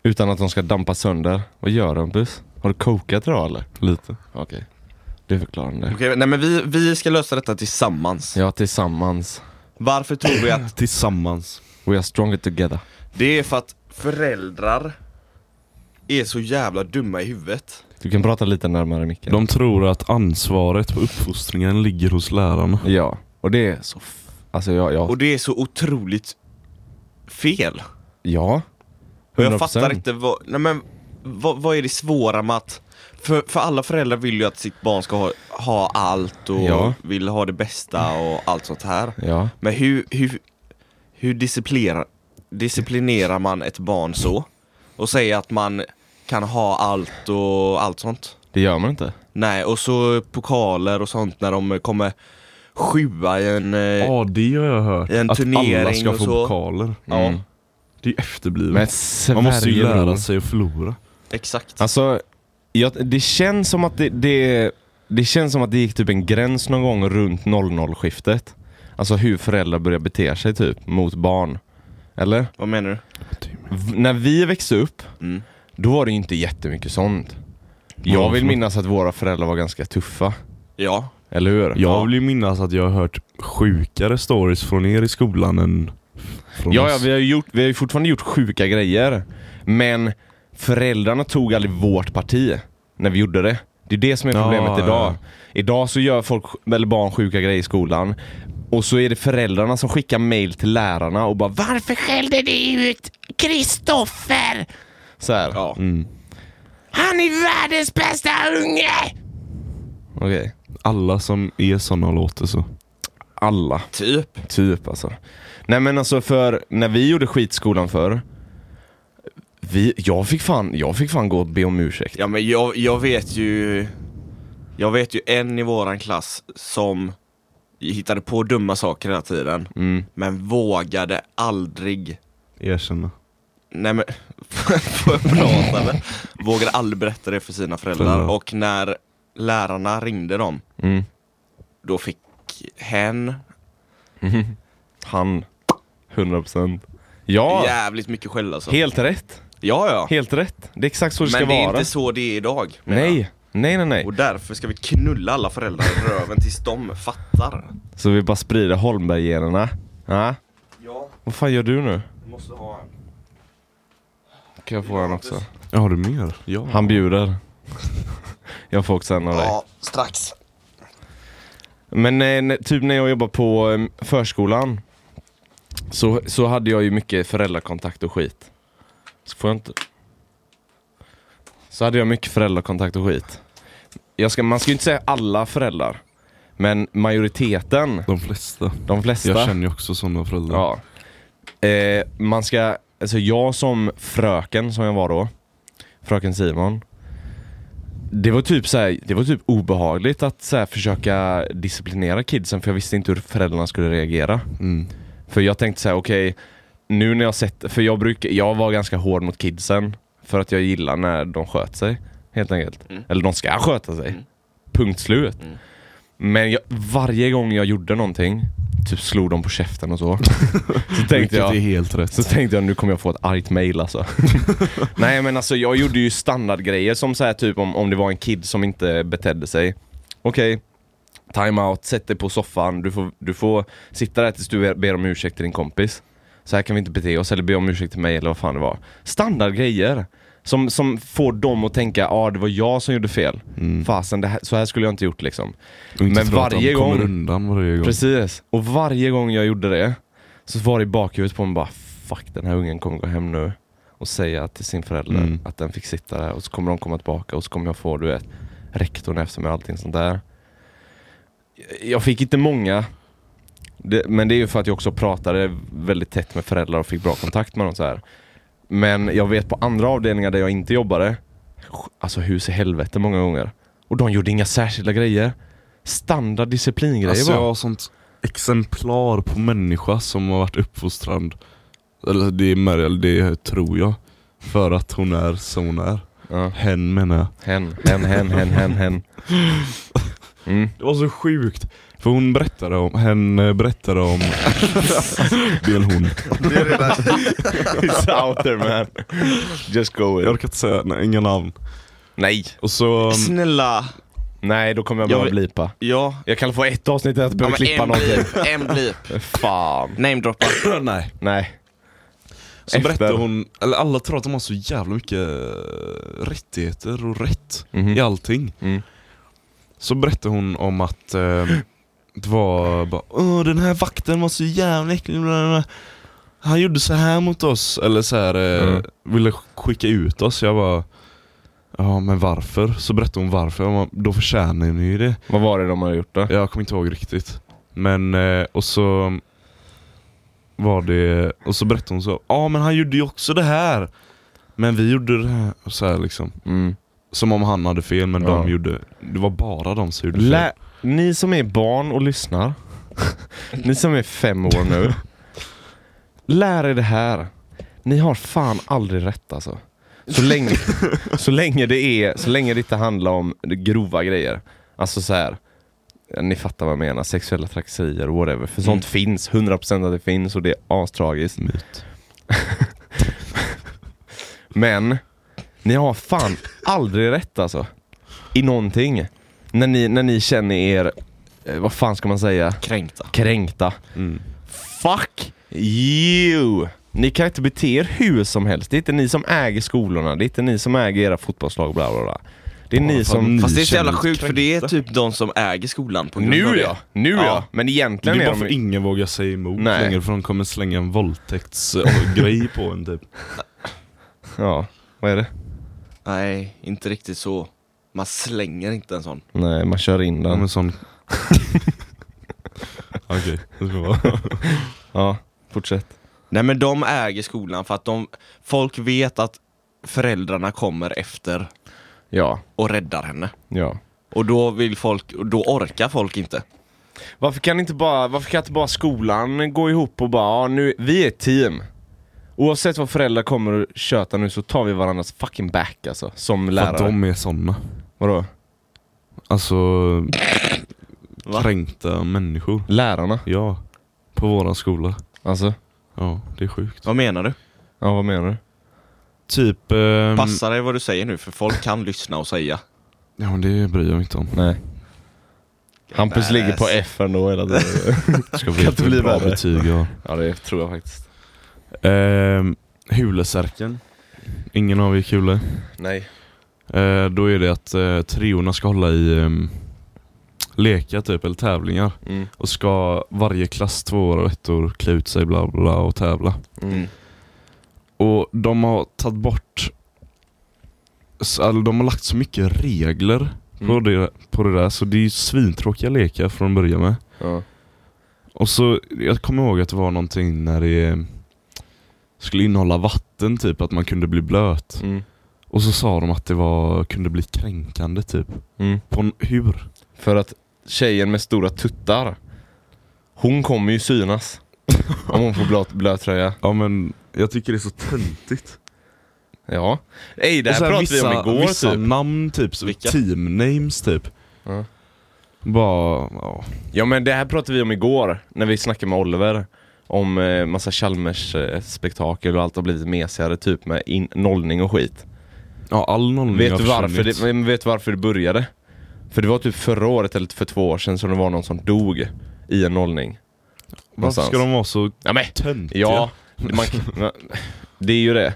utan att de ska dampa sönder? Vad gör de, Bus? Har du kokat idag eller? Lite. Okej. Det förklarar det. Okej, nej men vi, vi ska lösa detta tillsammans. Ja, tillsammans. Varför tror vi att Tillsammans. We are stronger together. det är för att föräldrar är så jävla dumma i huvudet? Du kan prata lite närmare micken. De tror att ansvaret för uppfostringen ligger hos lärarna. Ja, och det är så... F- alltså jag... jag Och det är så otroligt fel. ja. Och jag 100%. fattar inte vad, nej men vad, vad är det svåra med att för, för alla föräldrar vill ju att sitt barn ska ha, ha allt och Ja. vill ha det bästa och allt sånt här. Ja. Men hur, hur, hur disciplinerar, disciplinerar man ett barn så? Och säger att man kan ha allt och allt sånt? Det gör man inte. Nej, och så pokaler och sånt när de kommer sjua i en... eh, Ja det har jag hört. En att alla turnering ska och få så. pokaler. Ja, Mm. Det är ju efterblivet. Men Man måste ju Sverige, bror. lära sig att förlora. exakt. Alltså, jag, det känns som att det, det... Det känns som att det gick typ en gräns någon gång runt 00-skiftet. Alltså hur föräldrar börjar bete sig typ mot barn. Eller? Vad menar du? V- när vi växte upp, Mm. då var det ju inte jättemycket sånt. Ja, Jag vill för- minnas att våra föräldrar var ganska tuffa. Ja, Eller hur? Jag vill ju minnas att jag har hört sjukare stories från er i skolan än från Ja, ja oss. vi, har ju gjort, vi har ju fortfarande gjort sjuka grejer. Men föräldrarna tog aldrig vårt parti när vi gjorde det. Det är det som är Ja, problemet ja. idag. Idag så gör folk, eller barn sjuka grejer i skolan. Och så är det föräldrarna som skickar mail till lärarna och bara Varför skällde ni ut Kristoffer? Så här. ja. Mm. Han är världens bästa unge! Okej. Alla som är såna låter så. Alla. typ. Typ alltså. Nej men alltså för när vi gjorde skitskolan förr. Vi, jag, fick fan, jag fick fan gå och be om ursäkt. Ja men jag, jag vet ju Jag vet ju en i våran klass som hittade på dumma saker hela tiden Mm. Men vågade aldrig Erkänna. Nej men, får jag prata eller? Vågade aldrig berätta det för sina föräldrar Föräldrar. och när lärarna ringde dem Mm. Då fick hen Han. 100%. Ja, jävligt mycket skäll alltså helt rätt. Ja ja, Helt rätt. Det är exakt så det men ska det är vara. inte så det är idag menar jag. nej. nej, nej, nej. Och därför ska vi knulla alla föräldrar i röven tills de fattar Så vi bara sprider Holmberg-generna. Ja. Ja, Vad fan gör du nu? måste ha en Kan jag få en också? Ja, har du mer? Ja. Han bjuder. jag får också en av dig. strax Men eh, när- typ när jag jobbade på eh, förskolan så, så hade jag ju mycket föräldrakontakt och skit. Så får jag inte... Så hade jag mycket föräldrakontakt och skit. Jag ska, man ska ju inte säga alla föräldrar. Men majoriteten, De flesta. de flesta. Jag känner ju också sådana föräldrar. Ja. Eh, man ska alltså jag som fröken som jag var då, fröken Simon. Det var typ så här, det var typ obehagligt att så här försöka disciplinera kidsen för jag visste inte hur föräldrarna skulle reagera. Mm. För jag tänkte så här: okej, nu när jag sett, för jag brukar, jag var ganska hård mot kidsen för att jag gillar när de sköt sig, helt enkelt. Mm. Eller de ska sköta sig. Mm. Punkt slut. Mm. Men jag, varje gång jag gjorde någonting, typ slog dem på käften och så. så tänkte Vilket jag, är helt rätt. så tänkte jag nu kommer jag få ett argt mail alltså. Nej men alltså jag gjorde ju standardgrejer som så här typ om, om det var en kid som inte betedde sig. Okej, time-out, sätt dig på soffan, du får, du får sitta där tills du ber- ber om ursäkt till din kompis. Så här kan vi inte bete oss, eller be om ursäkt till mig eller vad fan det var. Standardgrejer! Som, som får dem att tänka, ja ah, det var jag som gjorde fel. Mm. Fasen, det här, så här skulle jag inte gjort liksom. Och inte Men tro att varje de kommer gång- undan varje gång. Precis, och varje gång jag gjorde det så var det i bakhuvudet på mig bara Fuck den här ungen kommer gå hem nu och säga till sin förälder Mm. att den fick sitta där och så kommer de komma tillbaka och så kommer jag få du vet rektorn efter mig och allting sånt där. Jag fick inte många det, men det är ju för att jag också pratade väldigt tätt med föräldrar och fick bra kontakt med dem så här. Men jag vet på andra avdelningar där jag inte jobbade, alltså hus i helvete många gånger. Och de gjorde inga särskilda grejer. Standard disciplingrejer Alltså bara. jag har sånt exemplar på människa som har varit uppfostrad. Eller det är Mariel, det tror jag. För att hon är som hon är. Ja. Hen menar jag. Hen, hen, hen, hen, hen, hen. Mm. Det var så sjukt. För hon berättade om, hen eh, berättade om... det är en hon. It's out there man. Just go with Jag it. orkar inte säga nej, inga namn. Nej, Och så... um, Snälla. nej då kommer jag Jag behöva vill- blipa. Ja. Jag kan få ett avsnitt utan att ja behöva men klippa en någonting. blip, en blip. Fan. Namedroppa. nej. Nej. Så Efter. berättade hon, eller alla tror att de har så jävla mycket eh, rättigheter och rätt Mhm. i allting. Mm. Så berättade hon om att eh, det var bara Åh, den här vakten var så jävla äcklig. bla, bla, bla. Han gjorde så här mot oss, eller så här, eh, Mm. ville skicka ut oss. Jag bara Ja men varför? Så berättade hon varför. Jag bara, Då förtjänar ni ju det. Vad var det de hade gjort då? Jag kommer inte ihåg riktigt. Men, eh, och så var det, och så berättade hon så, ja men han gjorde ju också det här. Men vi gjorde det här, och så här liksom. Mm. Som om han hade fel men Ja. de gjorde, det var bara de som gjorde fel. Lä- ni som är barn och lyssnar, ni som är fem år nu, lär er det här. Ni har fan aldrig rätt alltså. Så länge, så länge, det, är, så länge det inte handlar om grova grejer. Alltså så här. ja, ni fattar vad jag menar, sexuella trakasserier och whatever. För sånt finns, 100% att det finns och det är astragiskt. Myt. Men ni har fan aldrig rätt alltså. I någonting. När ni, när ni känner er, eh, vad fan ska man säga, Kränkta. kränkta. Mm. Fuck you! Ni kan inte bete er hur som helst. Det är inte ni som äger skolorna, det är inte ni som äger era fotbollslag bla bla bla. Det är ni fan, som... ni Fast det är så jävla känner sjukt för det är kränkta. typ de som äger skolan på grund av Nu det. ja, nu ja. Ja. Men Det egentligen är är bara för de... ingen vågar säga emot Nej. längre för de kommer slänga en våldtäktsgrej på en typ. Ja, vad är det? Nej, inte riktigt så. Man slänger inte en sån. Nej, man kör in Ja. den. Men sån... Okej, det ska vara. Ja, fortsätt. Nej men de äger skolan för att de, folk vet att föräldrarna kommer efter Ja, och räddar henne. ja. Och då vill folk, och då orkar folk inte. Varför kan inte bara, varför kan inte bara skolan gå ihop och bara, ja, nu, vi är ett team. Oavsett vad föräldrar kommer och tjötar nu så tar vi varandras fucking back alltså, som För att lärare. de är såna. Vadå? Alltså, Va? kränkta människor. Lärarna? Ja, på våran skola. Alltså? Ja, det är sjukt. Vad menar du? Ja, vad menar du? Typ... ehm, Mm. Passa dig vad du säger nu för folk kan lyssna och säga. Ja men det bryr jag mig inte om. Nej. Hampus Badass. ligger på F ändå hela tiden. Det ska Kan bli inte bli ett bra värre. betyg ja. ja, det tror jag faktiskt. Ehm, Hulesärken. Ingen av er kulor. Nej. Eh, då är det att eh, treorna ska hålla i ehm, lekar typ, eller tävlingar. Mm. Och ska varje klass tvåor och ettor klä ut sig bla bla bla och tävla. Mm. Och de har tagit bort, s- eller de har lagt så mycket regler på, Mm. det, på det där så det är ju svintråkiga lekar från början med. Ja. Och så, jag kommer ihåg att det var någonting när det eh, skulle innehålla vatten typ, att man kunde bli blöt. Mm. Och så sa de att det var, kunde bli kränkande typ. Mm. På en, hur? För att tjejen med stora tuttar, hon kommer ju synas. om hon får blöt, blöt tröja. Ja men jag tycker det är så töntigt. Ja. Ey, det Och här så här pratade vi vissa- om igår Vissa typ. namn typ, så Vilka? team names typ. Ja. Bara, ja. Ja men det här pratade vi om igår, när vi snackade med Oliver. Om eh, massa Chalmers-spektakel och allt har blivit mesigare typ med in- nollning och skit. ja all nollning Vet Mm, har du varför försvunnit. det, men vet du varför det började? För det var typ förra året eller för två år sedan som det var någon som dog i en nollning. Varför ska någonstans? de vara så Ja, men, töntiga? ja man, man, det är ju det.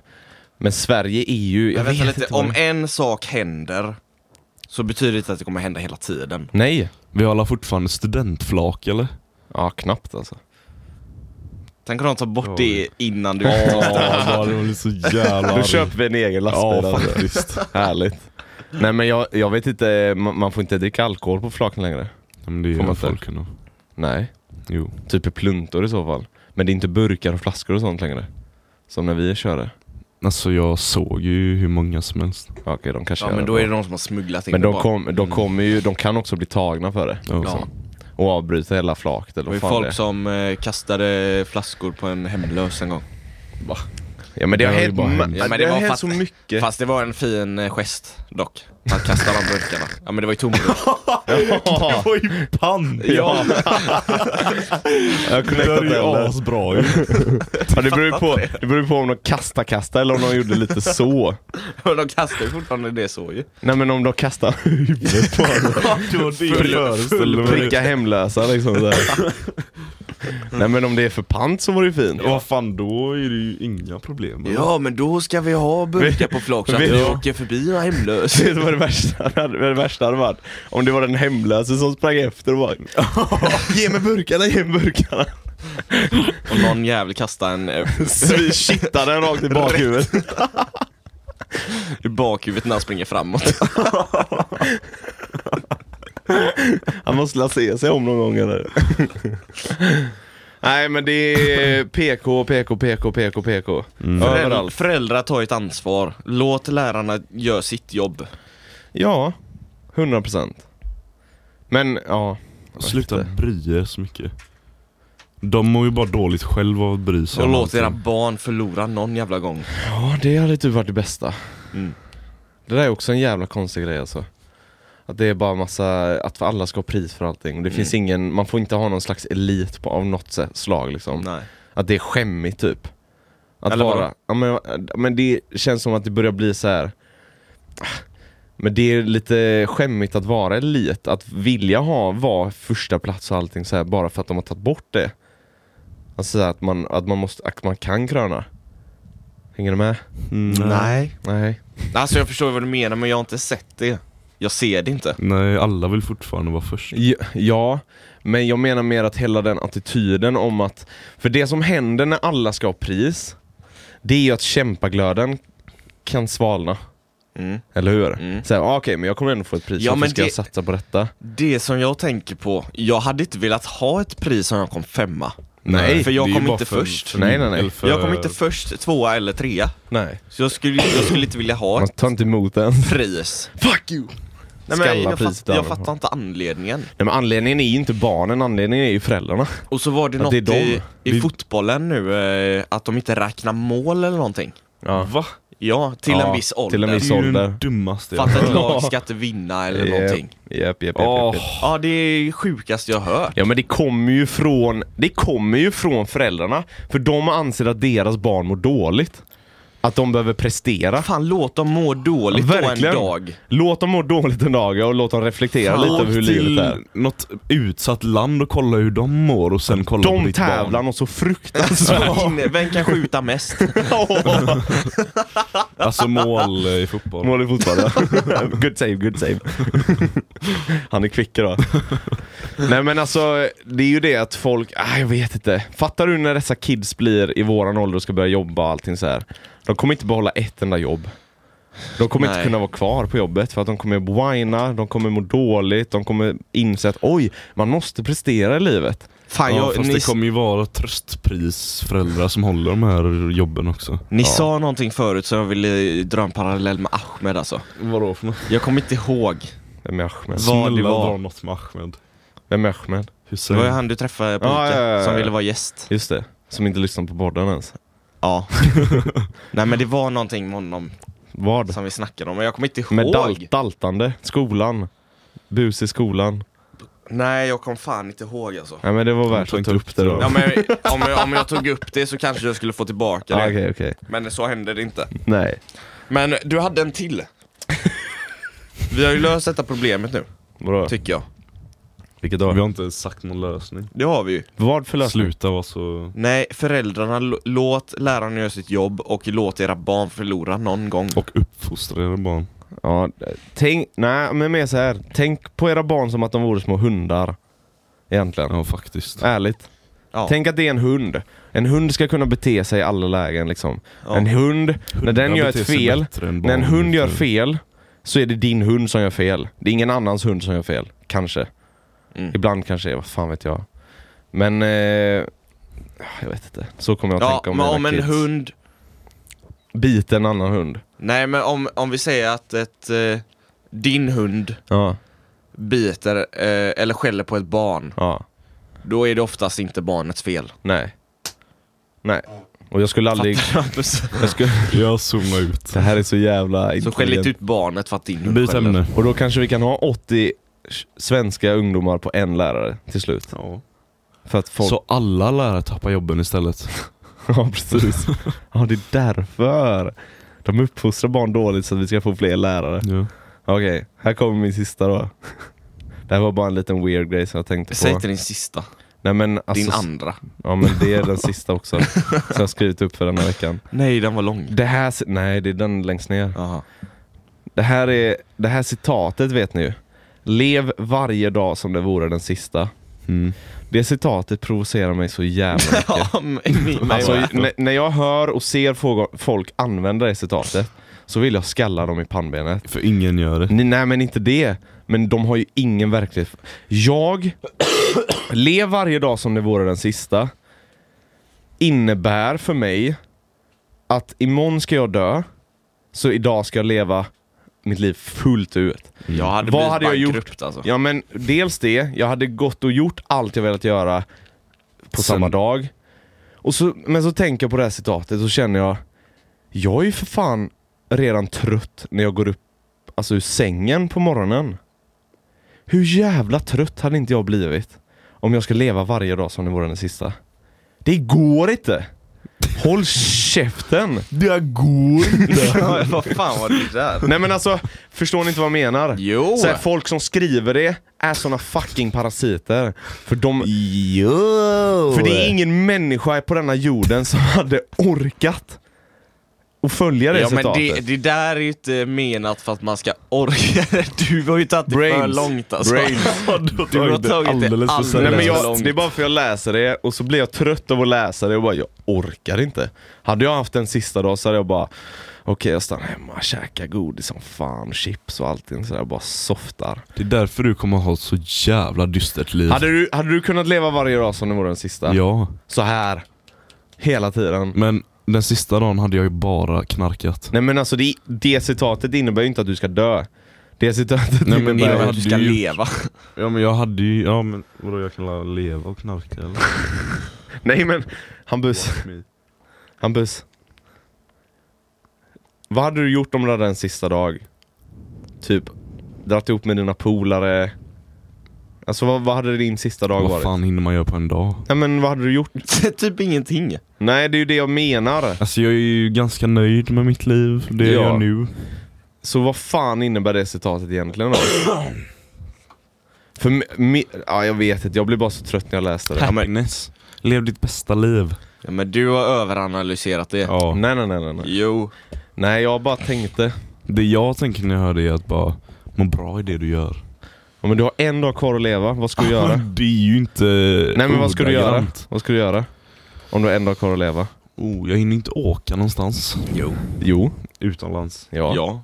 Men Sverige är ju... Jag Men vänta vet lite, inte vad om det- en sak händer så betyder det inte att det kommer hända hela tiden. Nej! Vi har alla fortfarande studentflak eller? Ja, knappt alltså. Tänk om de tar bort Oj. det innan du... Ja, det blir så jävla Då arg. köper vi en egen lastbil. Ja, alltså. Härligt. Nej men jag, jag vet inte, man, man får inte dricka alkohol på flaken längre. Ja, men det Får man gör inte? folk ändå. Nej, Jo. typ i pluntor i så fall. Men det är inte burkar och flaskor och sånt längre. Som när vi körde. Alltså jag såg ju hur många som helst. Ja, Okej, de kanske Ja gör men då är det de som har smugglat in Men det de, bara. Mm. kom, de kommer ju, de kan också bli tagna för det. Ja. Ja. Och avbryta hela flaket Det eller var ju vad fan det folk är. som eh, kastade flaskor på en hemlös en gång. Ja men det har Det har ju hänt, bara hänt. ma- Ja, men det det har var hänt fast- så mycket. Fast det var en fin eh, gest dock. Att kasta de burkarna. Ja men det var ju tomt. Ja, var ju pant! ja. jag har connectat det. eller? asbra ju. Ja, det beror ju på, det beror ju på om de kasta-kasta eller om de gjorde lite så. Men de kastar ju fortfarande det så ju. Nej men om de kastar huvudet på föreställer honom. mig. Pricka hemlösa liksom. Så här. Nej men om det är för pant så var det ju fint. Vad fan då är det ju inga problem. eller? Ja men då ska vi ha burkar på flak så att Vet- vi Ja. åker förbi och är hemlös. Vet du vad det värsta det hade, det värsta hade varit? Om det var den hemlöse som sprang efter och bara Ge mig burkarna, ge mig burkarna! Och någon jävel kastar en eh, Så vi kittade den rakt i bakhuvudet. i bakhuvudet när han springer framåt. Han måste la se sig om någon gång eller? Nej men det är PK, PK, PK, PK, PK. Föräldrar, Överallt. föräldrar tar ju ett ansvar. Låt lärarna göra sitt jobb. Ja, 100%. Men ja. Sluta bry er så mycket. De mår ju bara dåligt själv av att bry sig Och om låt era allting. barn förlora någon jävla gång. Ja, det hade typ varit det bästa. Mm. Det där är också en jävla konstig grej alltså. Att det är bara massa, att alla ska ha pris för allting. Det Mm. finns ingen, man får inte ha någon slags elit på, av något sätt, slag liksom. Nej. Att det är skämmigt typ. Att Eller vadå? vara, ja, men, men det känns som att det börjar bli så här. Men det är lite skämmigt att vara elit, att vilja ha, vara första plats och allting så här bara för att de har tagit bort det. Alltså så här, att man, att man måste, att man kan kröna. Hänger du med? Mm, nej. Nej. Alltså jag förstår vad du menar men jag har inte sett det. Jag ser det inte. Nej, alla vill fortfarande vara först. Ja, Ja, men jag menar mer att hela den attityden om att... För det som händer när alla ska ha pris, det är ju att kämpaglöden kan svalna. Mm. Eller hur? Mm. Så här, ah, Okej, men jag kommer ändå få ett pris. Ja, Varför men ska jag det- satsa på detta? Det som jag tänker på, jag hade inte velat ha ett pris om jag kom femma. Nej, för jag det är kom ju bara inte för- först. för- Nej, nej, nej. eller för- Jag kom inte först, tvåa eller trea. Nej. Så jag skulle, jag skulle inte vilja ha Man ett tar inte emot den. Nej, pris. Fuck you! Nej, men Skalla jag, fatt, priset jag av dem. fattar inte anledningen. men anledningen är ju inte barnen, anledningen är ju föräldrarna. Och så var det Att något det är i, i Vi- fotbollen nu, eh, att de inte räknar mål eller någonting. Ja. Va? Ja, till Ja, en viss ålder. till en Det viss är ju ålder. den dummaste För att ett hört. lag ska inte vinna eller någonting. Japp, japp, japp, japp, Åh, japp. Ja, det är sjukast jag hört. Ja men det kommer ju från, det kommer ju från föräldrarna. För de anser att deras barn mår dåligt. Att de behöver prestera. Fan, låt dem må dåligt då en Verkligen. dag. Låt dem må dåligt en dag och låt dem reflektera lite Åk över hur till livet är. något utsatt land och kolla hur de mår och sen kolla på De ditt tävlar barn. något så fruktansvärt. Vem- Vem kan skjuta mest? Alltså mål eh, i fotboll. Mål i fotboll ja. Good save, good save. Han är kvick då. Nej men alltså, det är ju det att folk, ah, jag vet inte. Fattar du när dessa kids blir i våran ålder och ska börja jobba och allting så här. De kommer inte behålla ett enda jobb. De kommer inte Nej. kunna vara kvar på jobbet för att de kommer whina, de kommer må dåligt, de kommer inse att oj, man måste prestera i livet. Fan, Ja, jag, fast ni, det kommer ju vara tröstprisföräldrar som håller de här jobben också. ni sa någonting förut så jag ville dra en parallell med Ahmed alltså. Vadå för något? Jag kommer inte ihåg. Vem är Ahmed? Snälla det var. dra något med Ahmed. Vem är Ahmed? Det Hussein. var ju han du träffade på Mm. Ja, Ica, ja, ja, ja. som ville vara gäst. Just det, som inte lyssnar på podden ens. Ja. Nej men det var någonting med honom Vad? som vi snackade om, men jag kommer inte ihåg. Med dal- daltande, skolan, bus i skolan. Nej, jag kom fan inte ihåg alltså. Nej men det var värt tar att ta inte upp upp det det då. då. Ja, men, om, jag, om jag tog upp det så kanske jag skulle få tillbaka det. Ja, Okej, okej. Men så hände det inte. Nej. Men du hade en till. Vi har ju löst detta problemet nu, Vadå? tycker jag. Vilket Vi då? har inte ens sagt någon lösning. Det har vi ju. Vad för lösning? Sluta vara så... Nej, föräldrarna, l- låt lärarna göra sitt jobb och låt era barn förlora någon gång. Och uppfostra era barn. Ja, tänk, nej men mer så här. tänk på era barn som att de vore små hundar. Egentligen. Ja faktiskt. Ärligt. Ja. Tänk att det är en hund. En hund ska kunna bete sig i alla lägen liksom. Ja. En hund, när den Hundar gör ett beter sig fel, bättre än när en barn, hund gör för- fel så är det din hund som gör fel. Det är ingen annans hund som gör fel. Kanske. Mm. Ibland kanske det är, vad fan vet jag. Men, eh, jag vet inte. Så kommer jag att Ja, tänka om men om mina en kids. hund Bit en annan hund. Nej men om, om vi säger att ett, eh, din hund Ja, biter eh, eller skäller på ett barn, ja. då är det oftast inte barnets fel. Nej. Nej. Och jag skulle aldrig... Jag skulle... Jag zoomar ut. Det här är så jävla Så skäll inte intelligent. ut barnet för att din hund Byt skäller. ämne. Och då kanske vi kan ha 80 s- svenska ungdomar på en lärare till slut. Ja. För att folk... Så alla lärare tappar jobben istället. ja, precis. ja, det är därför. De uppfostrar barn dåligt så att vi ska få fler lärare. Ja. Okej, här kommer min sista då. Det här var bara en liten weird grej som jag tänkte på. Säg till din sista, Nej men alltså, din andra. ja men det är den sista också. Som jag har skrivit upp för den här veckan. Nej den var lång. Det här, se- nej det är den längst ner. Jaha. Det här, är, det här citatet vet ni ju. Lev varje dag som det vore den sista. Mm. Det citatet provocerar mig så jävla mycket. Ja, men, ni- mig alltså, med. n- när jag hör och ser få- folk använda det citatet så vill jag skalla dem i pannbenet. För ingen gör det. Ni, nej men inte det. Men de har ju ingen verklighet. Jag, lev varje dag som det vore den sista, innebär för mig att imorgon ska jag dö, så idag ska jag leva mitt liv fullt ut. jag hade Vad blivit hade jag gjort? bankrupt, Alltså. Ja men dels det, jag hade gått och gjort allt jag velat göra Sen- på samma dag. Och så, men så tänker jag på det här citatet och känner jag, jag är ju för fan redan trött när jag går upp alltså, ur sängen på morgonen. Hur jävla trött hade inte jag blivit om jag ska leva varje dag som det vore den sista? Det går inte! Håll käften! Det går Ja, vad fan var det där? Nej men alltså, förstår ni inte vad jag menar? Jo! Så här, folk som skriver det är såna fucking parasiter. För, de, Jo! för det är ingen människa på denna jorden som hade orkat att följa det Ja men citatet. det, det där är ju inte menat för att man ska orka. Du har ju tagit det för Brains. långt alltså. Brains. Du har tagit det alldeles för Nej, men seriöst. seriöst. jag, det är bara för jag läser det och så blir jag trött av att läsa det och bara jag orkar inte. Hade jag haft en sista dag så hade jag bara okej jag stannar hemma, käkar godis som fan, chips och allting sådär, bara softar. Det är därför du kommer ha ett så jävla dystert liv. Hade du, hade du kunnat leva varje dag som det vore den sista? Ja, Så här Hela tiden. men den sista dagen hade jag ju bara knarkat. Nej men alltså det, det citatet innebär ju inte att du ska dö. Det citatet Nej, men innebär... Innan hade att du du ska gjort? leva. Ja men jag hade ju, ja men vadå jag kan leva och knarka eller? Nej men Hampus, Hampus. Vad hade du gjort om du hade en sista dag? Typ, dratt ihop med dina polare? Alltså vad, vad hade din sista dag Vad varit? fan hinner man göra på en dag? Nej men vad hade du gjort? typ ingenting. Nej det är ju det jag menar. Alltså jag är ju ganska nöjd med mitt liv, det Ja. jag gör nu. Så vad fan innebär det citatet egentligen då? För mi- mi- ja, jag vet inte, jag blev bara så trött när jag läste det. Happiness. Lev ditt bästa liv. Ja, men du har överanalyserat det. Ja. Nej, nej, nej, nej, nej. Jo. Nej, jag bara tänkte. Det jag tänker när jag hör det är att bara, må bra i det du gör. Ja, men du har en dag kvar att leva, vad ska du göra? Det är ju inte Nej men vad ska du göra? ordagrant. Vad ska du göra? Om du har en dag kvar att leva? Oh, jag hinner inte åka någonstans. Jo. Jo. utomlands? Ja. Ja,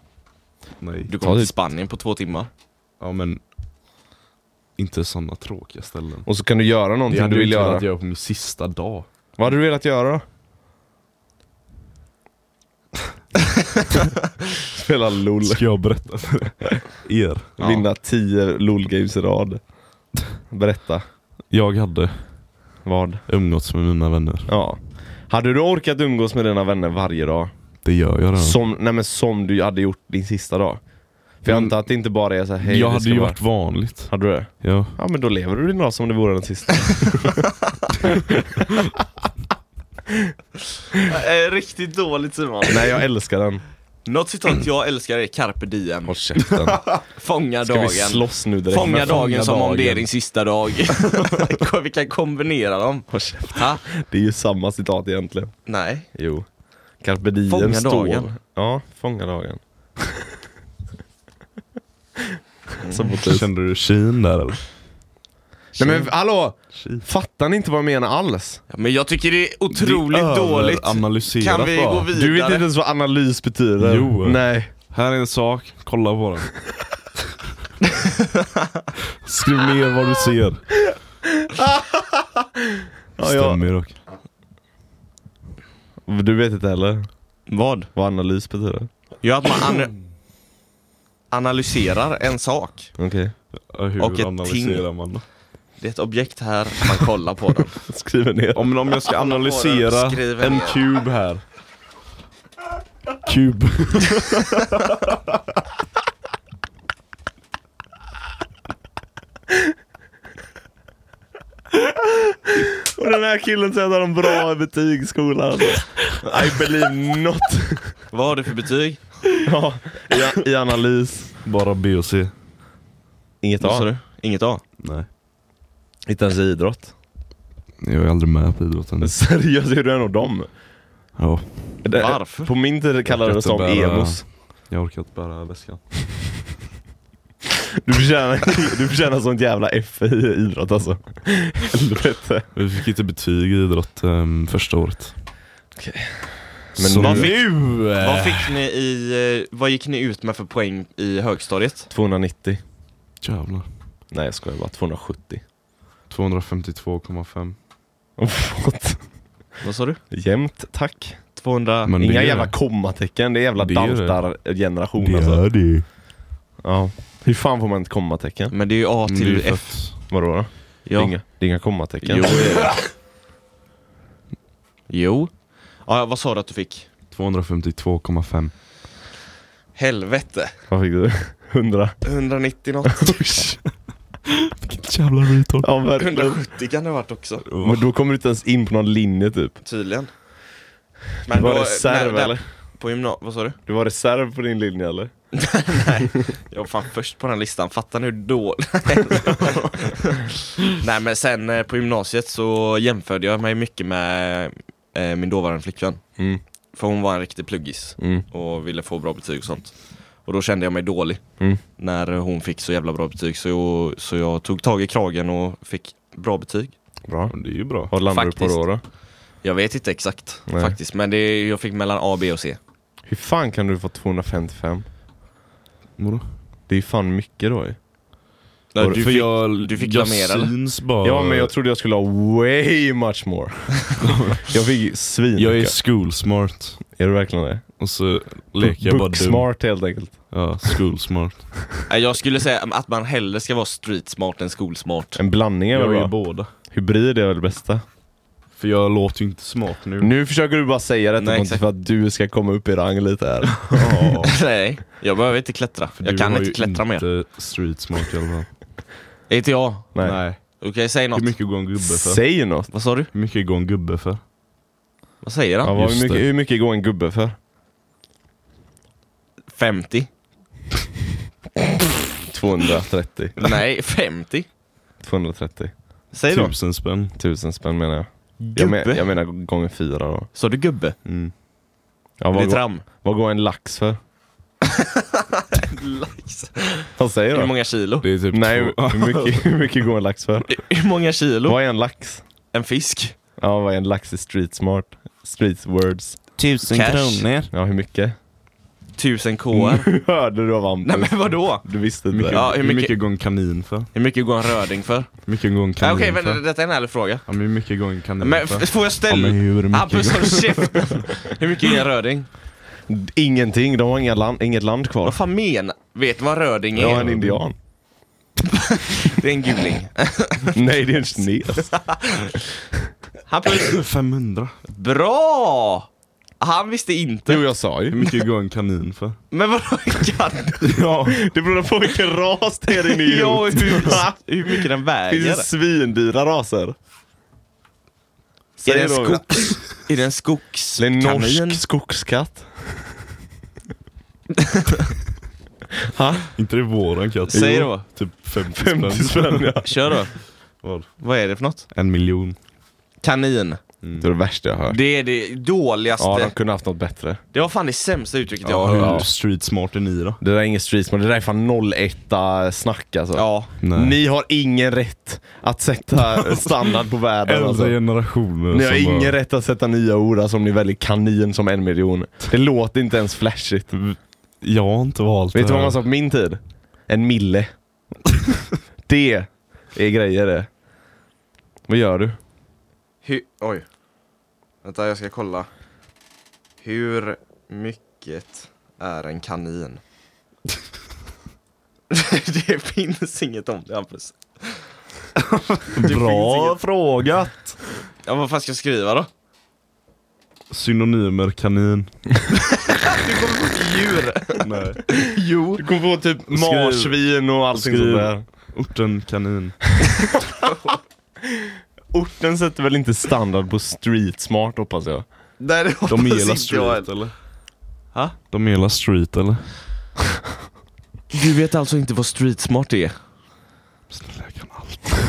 Nej. du Ta kommer det. till Spanien på två timmar. Ja men, inte sådana tråkiga ställen. Och så kan du göra Det någonting hade du du vill inte göra. velat göra på min sista dag. Vad hade du velat göra då? Spela LOL. Ska jag berätta för er? Ja. Vinna 10 LOL-games i rad. Berätta. Jag hade Vad? umgåtts med mina vänner. Ja. Hade du orkat umgås med dina vänner varje dag? Det gör jag redan. Som, nej men som du hade gjort din sista dag? För jag Men- antar att det inte bara är så här, hej Mm. jag vi hade ska ju bara- varit vanligt. Hade du det? Ja. Ja men då lever du din dag som det vore den sista. Eh, Riktigt dåligt Simon. nej jag älskar den. Något citat jag älskar är carpe diem. Håll käften. Fånga Ska vi dagen. slåss nu direkt? Fånga Men fan, dagen som om det är dagen. din sista dag. vi kan kombinera dem. Håll käften. Ha? Det är ju samma citat egentligen. Nej. Jo. Carpe diem Fånga står. dagen. Ja, fånga dagen. Som mot ut. Kände du kin där eller? Mm. Nej men hallå! Shit. Fattar ni inte vad jag menar alls? Ja, Men jag tycker det är otroligt Det är dåligt. överanalyserat Kan vi bara. gå vidare? Du vet inte ens vad analys betyder? Jo. Nej. Här är en sak, kolla på den. Skriv ner vad du ser. Ja, ja. Stämmer ju dock. Du vet inte heller Vad? vad analys betyder? Ja, att man ana- analyserar en sak. Okej. Ja, Hur Och ett analyserar man då? Det är ett objekt här, man kollar på den. Skriver ner. Om, om jag ska analysera Skriv en ner. kub här. Kub. Och den här killen säger att han har en bra betyg i skolan. I believe not. Vad har du för betyg? Ja, i, i analys. Bara B och C. Inget Vad sa A. du? Inget A? Nej. Inte ens i idrott. Jag är aldrig med på idrotten. Seriöst, hur är nog dem? Ja, Det- Varför? På min tid kallades det Jag som kan inte bära- emos. jag orkar inte bära väskan. Du förtjänar, du förtjänar sånt jävla F i idrott alltså. Helvete. Vi fick inte betyg i idrott ehm, första året. Okej. Men Men Så vad nu... fick- Vad fick ni i, eh, vad gick ni ut med för poäng i högstadiet? 290. Jävlar. Nej jag skojar bara, 270. 252,5. Åh, Förlåt. Vad sa du? Jämnt tack. 200... Men det Inga är- jävla kommatecken, det är jävla Det är det. daltargeneration alltså. det. Ja. Hur fan får man ett kommatecken? Men det är ju A Det är ju till för F. att Vadå då? Det, är Ja. inga, det är inga kommatecken. Jo, det är det. Jo. Ja, vad sa du att du fick? 252,5. Helvete. Vad fick du? 100? 190 något. Vilket jävla retard. Ja, verkligen. 170 kan det ha varit också. Men då kommer du inte ens in på någon linje typ. Tydligen. Du var då- reserv när- där- eller? På gymnasiet, vad sa du? Du var reserv på din linje eller? Jag var fan först på den listan, fattar ni hur dålig Nej men sen eh, på gymnasiet så jämförde jag mig mycket med eh, min dåvarande flickvän Mm. För hon var en riktig pluggis Mm. och ville få bra betyg och sånt Och då kände jag mig dålig Mm. När hon fick så jävla bra betyg så, så jag tog tag i kragen och fick bra betyg Bra. Men Det är ju bra. Vad landar du Faktiskt. på då? då? Jag vet inte exakt Nej. faktiskt men det, jag fick mellan A, B och C Hur fan kan du få 255? Vadå? Det är ju fan mycket då ju. Nej, du för fick- jag, du fick jag la mer, eller? syns bara. Ja men jag trodde jag skulle ha way much more. jag fick svin. jag är school smart. är du verkligen det? Och så leker jag bara Book dum. smart helt enkelt. Ja, school smart. Nej, Jag skulle säga att man hellre ska vara street smart än skolsmart En blandning är jag väl är bra? båda. Hybrid är väl det bästa? För jag låter ju inte smart nu. Nu försöker du bara säga detta Nej, Monty, exakt. för att du ska komma upp i rang lite här. Ja. Nej, jag behöver inte klättra. jag Du kan var inte ju klättra mer. inte street smart i alla fall. Inte jag. Nej. Okej, säg något. Hur mycket går en gubbe för? Säg något. Vad sa du? Hur mycket går en gubbe för? Vad säger han? Ja, vad, hur, just mycket, det. hur mycket går en gubbe för? 50? 230. Nej, 50? 230 Säg då. Tusen spänn. tusen spänn menar jag. Gubbe? Jag, men, jag menar gånger fyra då. Sa du gubbe? Mm. Ja, Det är vad, går, tram. vad går en lax för? Lax. Vad säger Hur du? många kilo? Det är typ Nej, två. hur mycket, hur mycket går en lax för? Hur många kilo? Vad är en lax? En fisk? Ja, vad är en lax i street smart? Street words. Tusen Cash. kronor. Ja, hur mycket? 1000 Mm. kr. Nu hörde du av Nej Hampus. men vadå? Du visste Hur mycket, inte. Ja, hur hur mycket- mycket... går en kanin för? Hur mycket går en röding för? Hur mycket går en kanin Nej, Okej, för? men detta är en ärlig fråga. Ja, men hur mycket går en kanin Men för? f- får jag ja, ställa... men hur mycket Hampus, går... håll käften! Hur mycket är en röding? Ingenting, de har inga land, inget land kvar. Vad fan menar... Vet du vad röding är? Jag är en indian. Det är en guling. Nej, det är en kines. Hampus, 500. bra! Han visste inte. Jo, jag sa Hur ju. mycket går en kanin för? Men vadå kan Ja, Det beror på vilken ras det är inne i Ja, och huvudet. hur, hur mycket den Det väger? finns svindyra raser. Är det en Säg då. skogs... Är det en Det är en skogskanin? norsk skogskatt. inte det våran katt. Säg Jo, då. Typ 50 spänn. 50 spänn ja. Kör då. Vad? Vad är det för något? En miljon. Kanin. Det är det värsta jag har hört. Det är det dåligaste. Mm. Ja, de kunde haft något bättre. Det var fan det sämsta uttrycket jag Ja, har hur hört. street smart är ni då? Det där är ingen street smart, det där är fan 01 snack alltså. Ja. Ni har ingen rätt att sätta standard på världen Äldre alltså. generationer Ni har som ingen bara- rätt att sätta nya ord alltså, om ni väljer kanin som en miljon. Det låter inte ens flashigt. Jag har inte valt Vet det du vad här. man sa på min tid? En mille. det är grejer det. Vad gör du? Hur... Oj. Vänta, jag ska kolla. Hur mycket är en kanin? det finns inget om det Hampus. Bra frågat! Ja, vad fan ska jag skriva då? Synonymer kanin. Du kommer få djur. Nej. Jo. Du kommer få typ marsvin och allting Skriv. sånt där. Orten kanin. Orten sätter väl inte standard på street smart hoppas jag. Nej, det De är hela hoppas inte jag. street eller? Ha? De är hela street eller? Du vet alltså inte vad street smart är? Snälla jag kan allt.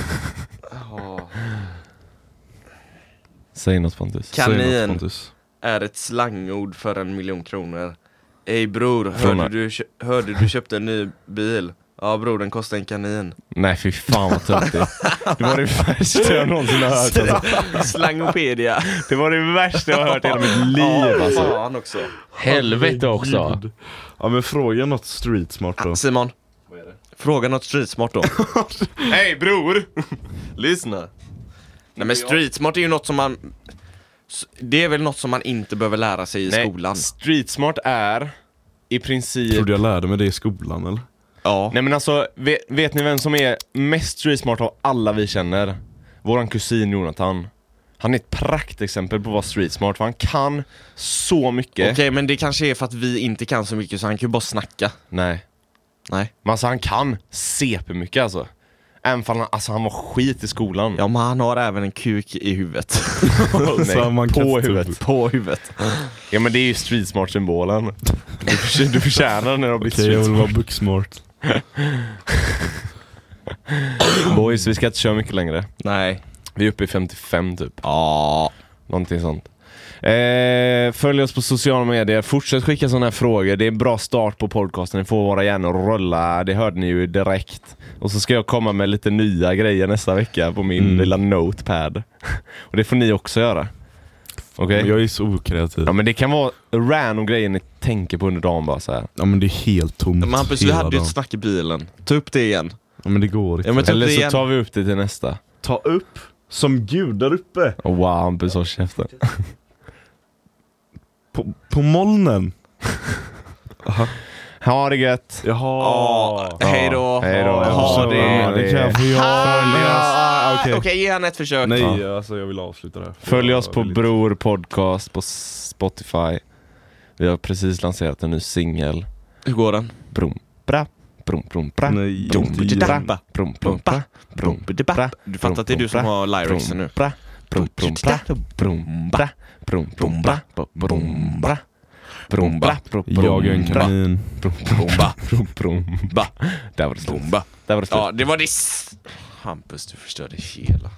Säg något Pontus. Säg något, Kanin Pontus. är ett slangord för en miljon kronor. Ey bror, Från hörde du, kö- hörde du köpte en ny bil? Ja bror, den kostar en kanin. Nej fy fan vad töntigt. Det var det värsta jag någonsin har hört. Alltså. Slangopedia. Det var det värsta jag har hört i hela mitt liv alltså. Fan också. Helvete också. Gud. Ja men fråga något street smart då. Ah, Simon. Fråga något streetsmart då. Hej bror! Lyssna. Nej men streetsmart är ju något som man... s- Det är väl något som man inte behöver lära sig i skolan? street smart är i princip... Tror du jag lärde mig det i skolan eller? Ja. Nej men alltså, vet, vet ni vem som är mest streetsmart av alla vi känner? Våran kusin Jonathan. Han är ett praktexempel på vad streetsmart för han kan så mycket. Okej, men det kanske är för att vi inte kan så mycket så han kan ju bara snacka. Nej. Nej. Men alltså han kan CP-mycket alltså. Även fall han, alltså, han var skit i skolan. Ja, men han har även en kuk i huvudet. Så man typ- på kastar upp. huvudet. På huvudet. Typ. Ja men det är ju streetsmart-symbolen. Du, förtjä- du förtjänar när du har blivit Okej jag vill streetsmart. vara booksmart. Boys, vi ska inte köra mycket längre. Nej. Vi är uppe i 55 typ. Ja. Någonting sånt. Eh, följ oss på sociala medier, fortsätt skicka sådana här frågor. Det är en bra start på podcasten, ni får våra hjärnor att rulla. Det hörde ni ju direkt. Och så ska jag komma med lite nya grejer nästa vecka på min Mm. lilla notepad. Och det får ni också göra. Okej? Men Jag är så okreativ. Ja men det kan vara random grejer ni tänker på under dagen bara så här. Ja men det är helt tomt Men Hampus, vi hela hade ju dagen. ett snack i bilen. Ta upp det igen. Ja men det går inte. Ja, men ta upp Eller det så igen. tar vi upp det till nästa. Ta upp som gud där uppe. Oh, wow, Hampus håll käften. På, på molnen. Ha det gött! Jaha. Ja. Ah, Hej då. Hej då. Ha det. Ja, det kan jag få Ah, göra. Okej, ge han ett försök. Nej, alltså jag vill avsluta det här. Följ oss Jag på vill inte. Bror Podcast på Spotify. Vi har precis lanserat en ny singel. Hur går den? Brom, bra, brom, brom, bra. Nej, Dum, inte dum, igen. bra, brom, brom, bra, brom, bra. Du fattar att det är du som har lyricsen nu. Bra, brom, brom, bra, brom, bra, brom, brom, bra, brom, bra. Brom, bra, brom, brom, Jag är en bra. kanin. Brom, brom, bra, brom, brom, bra. Där var det slut. Där var det slut. Ja, det var det. s- Hampus, du förstörde hela.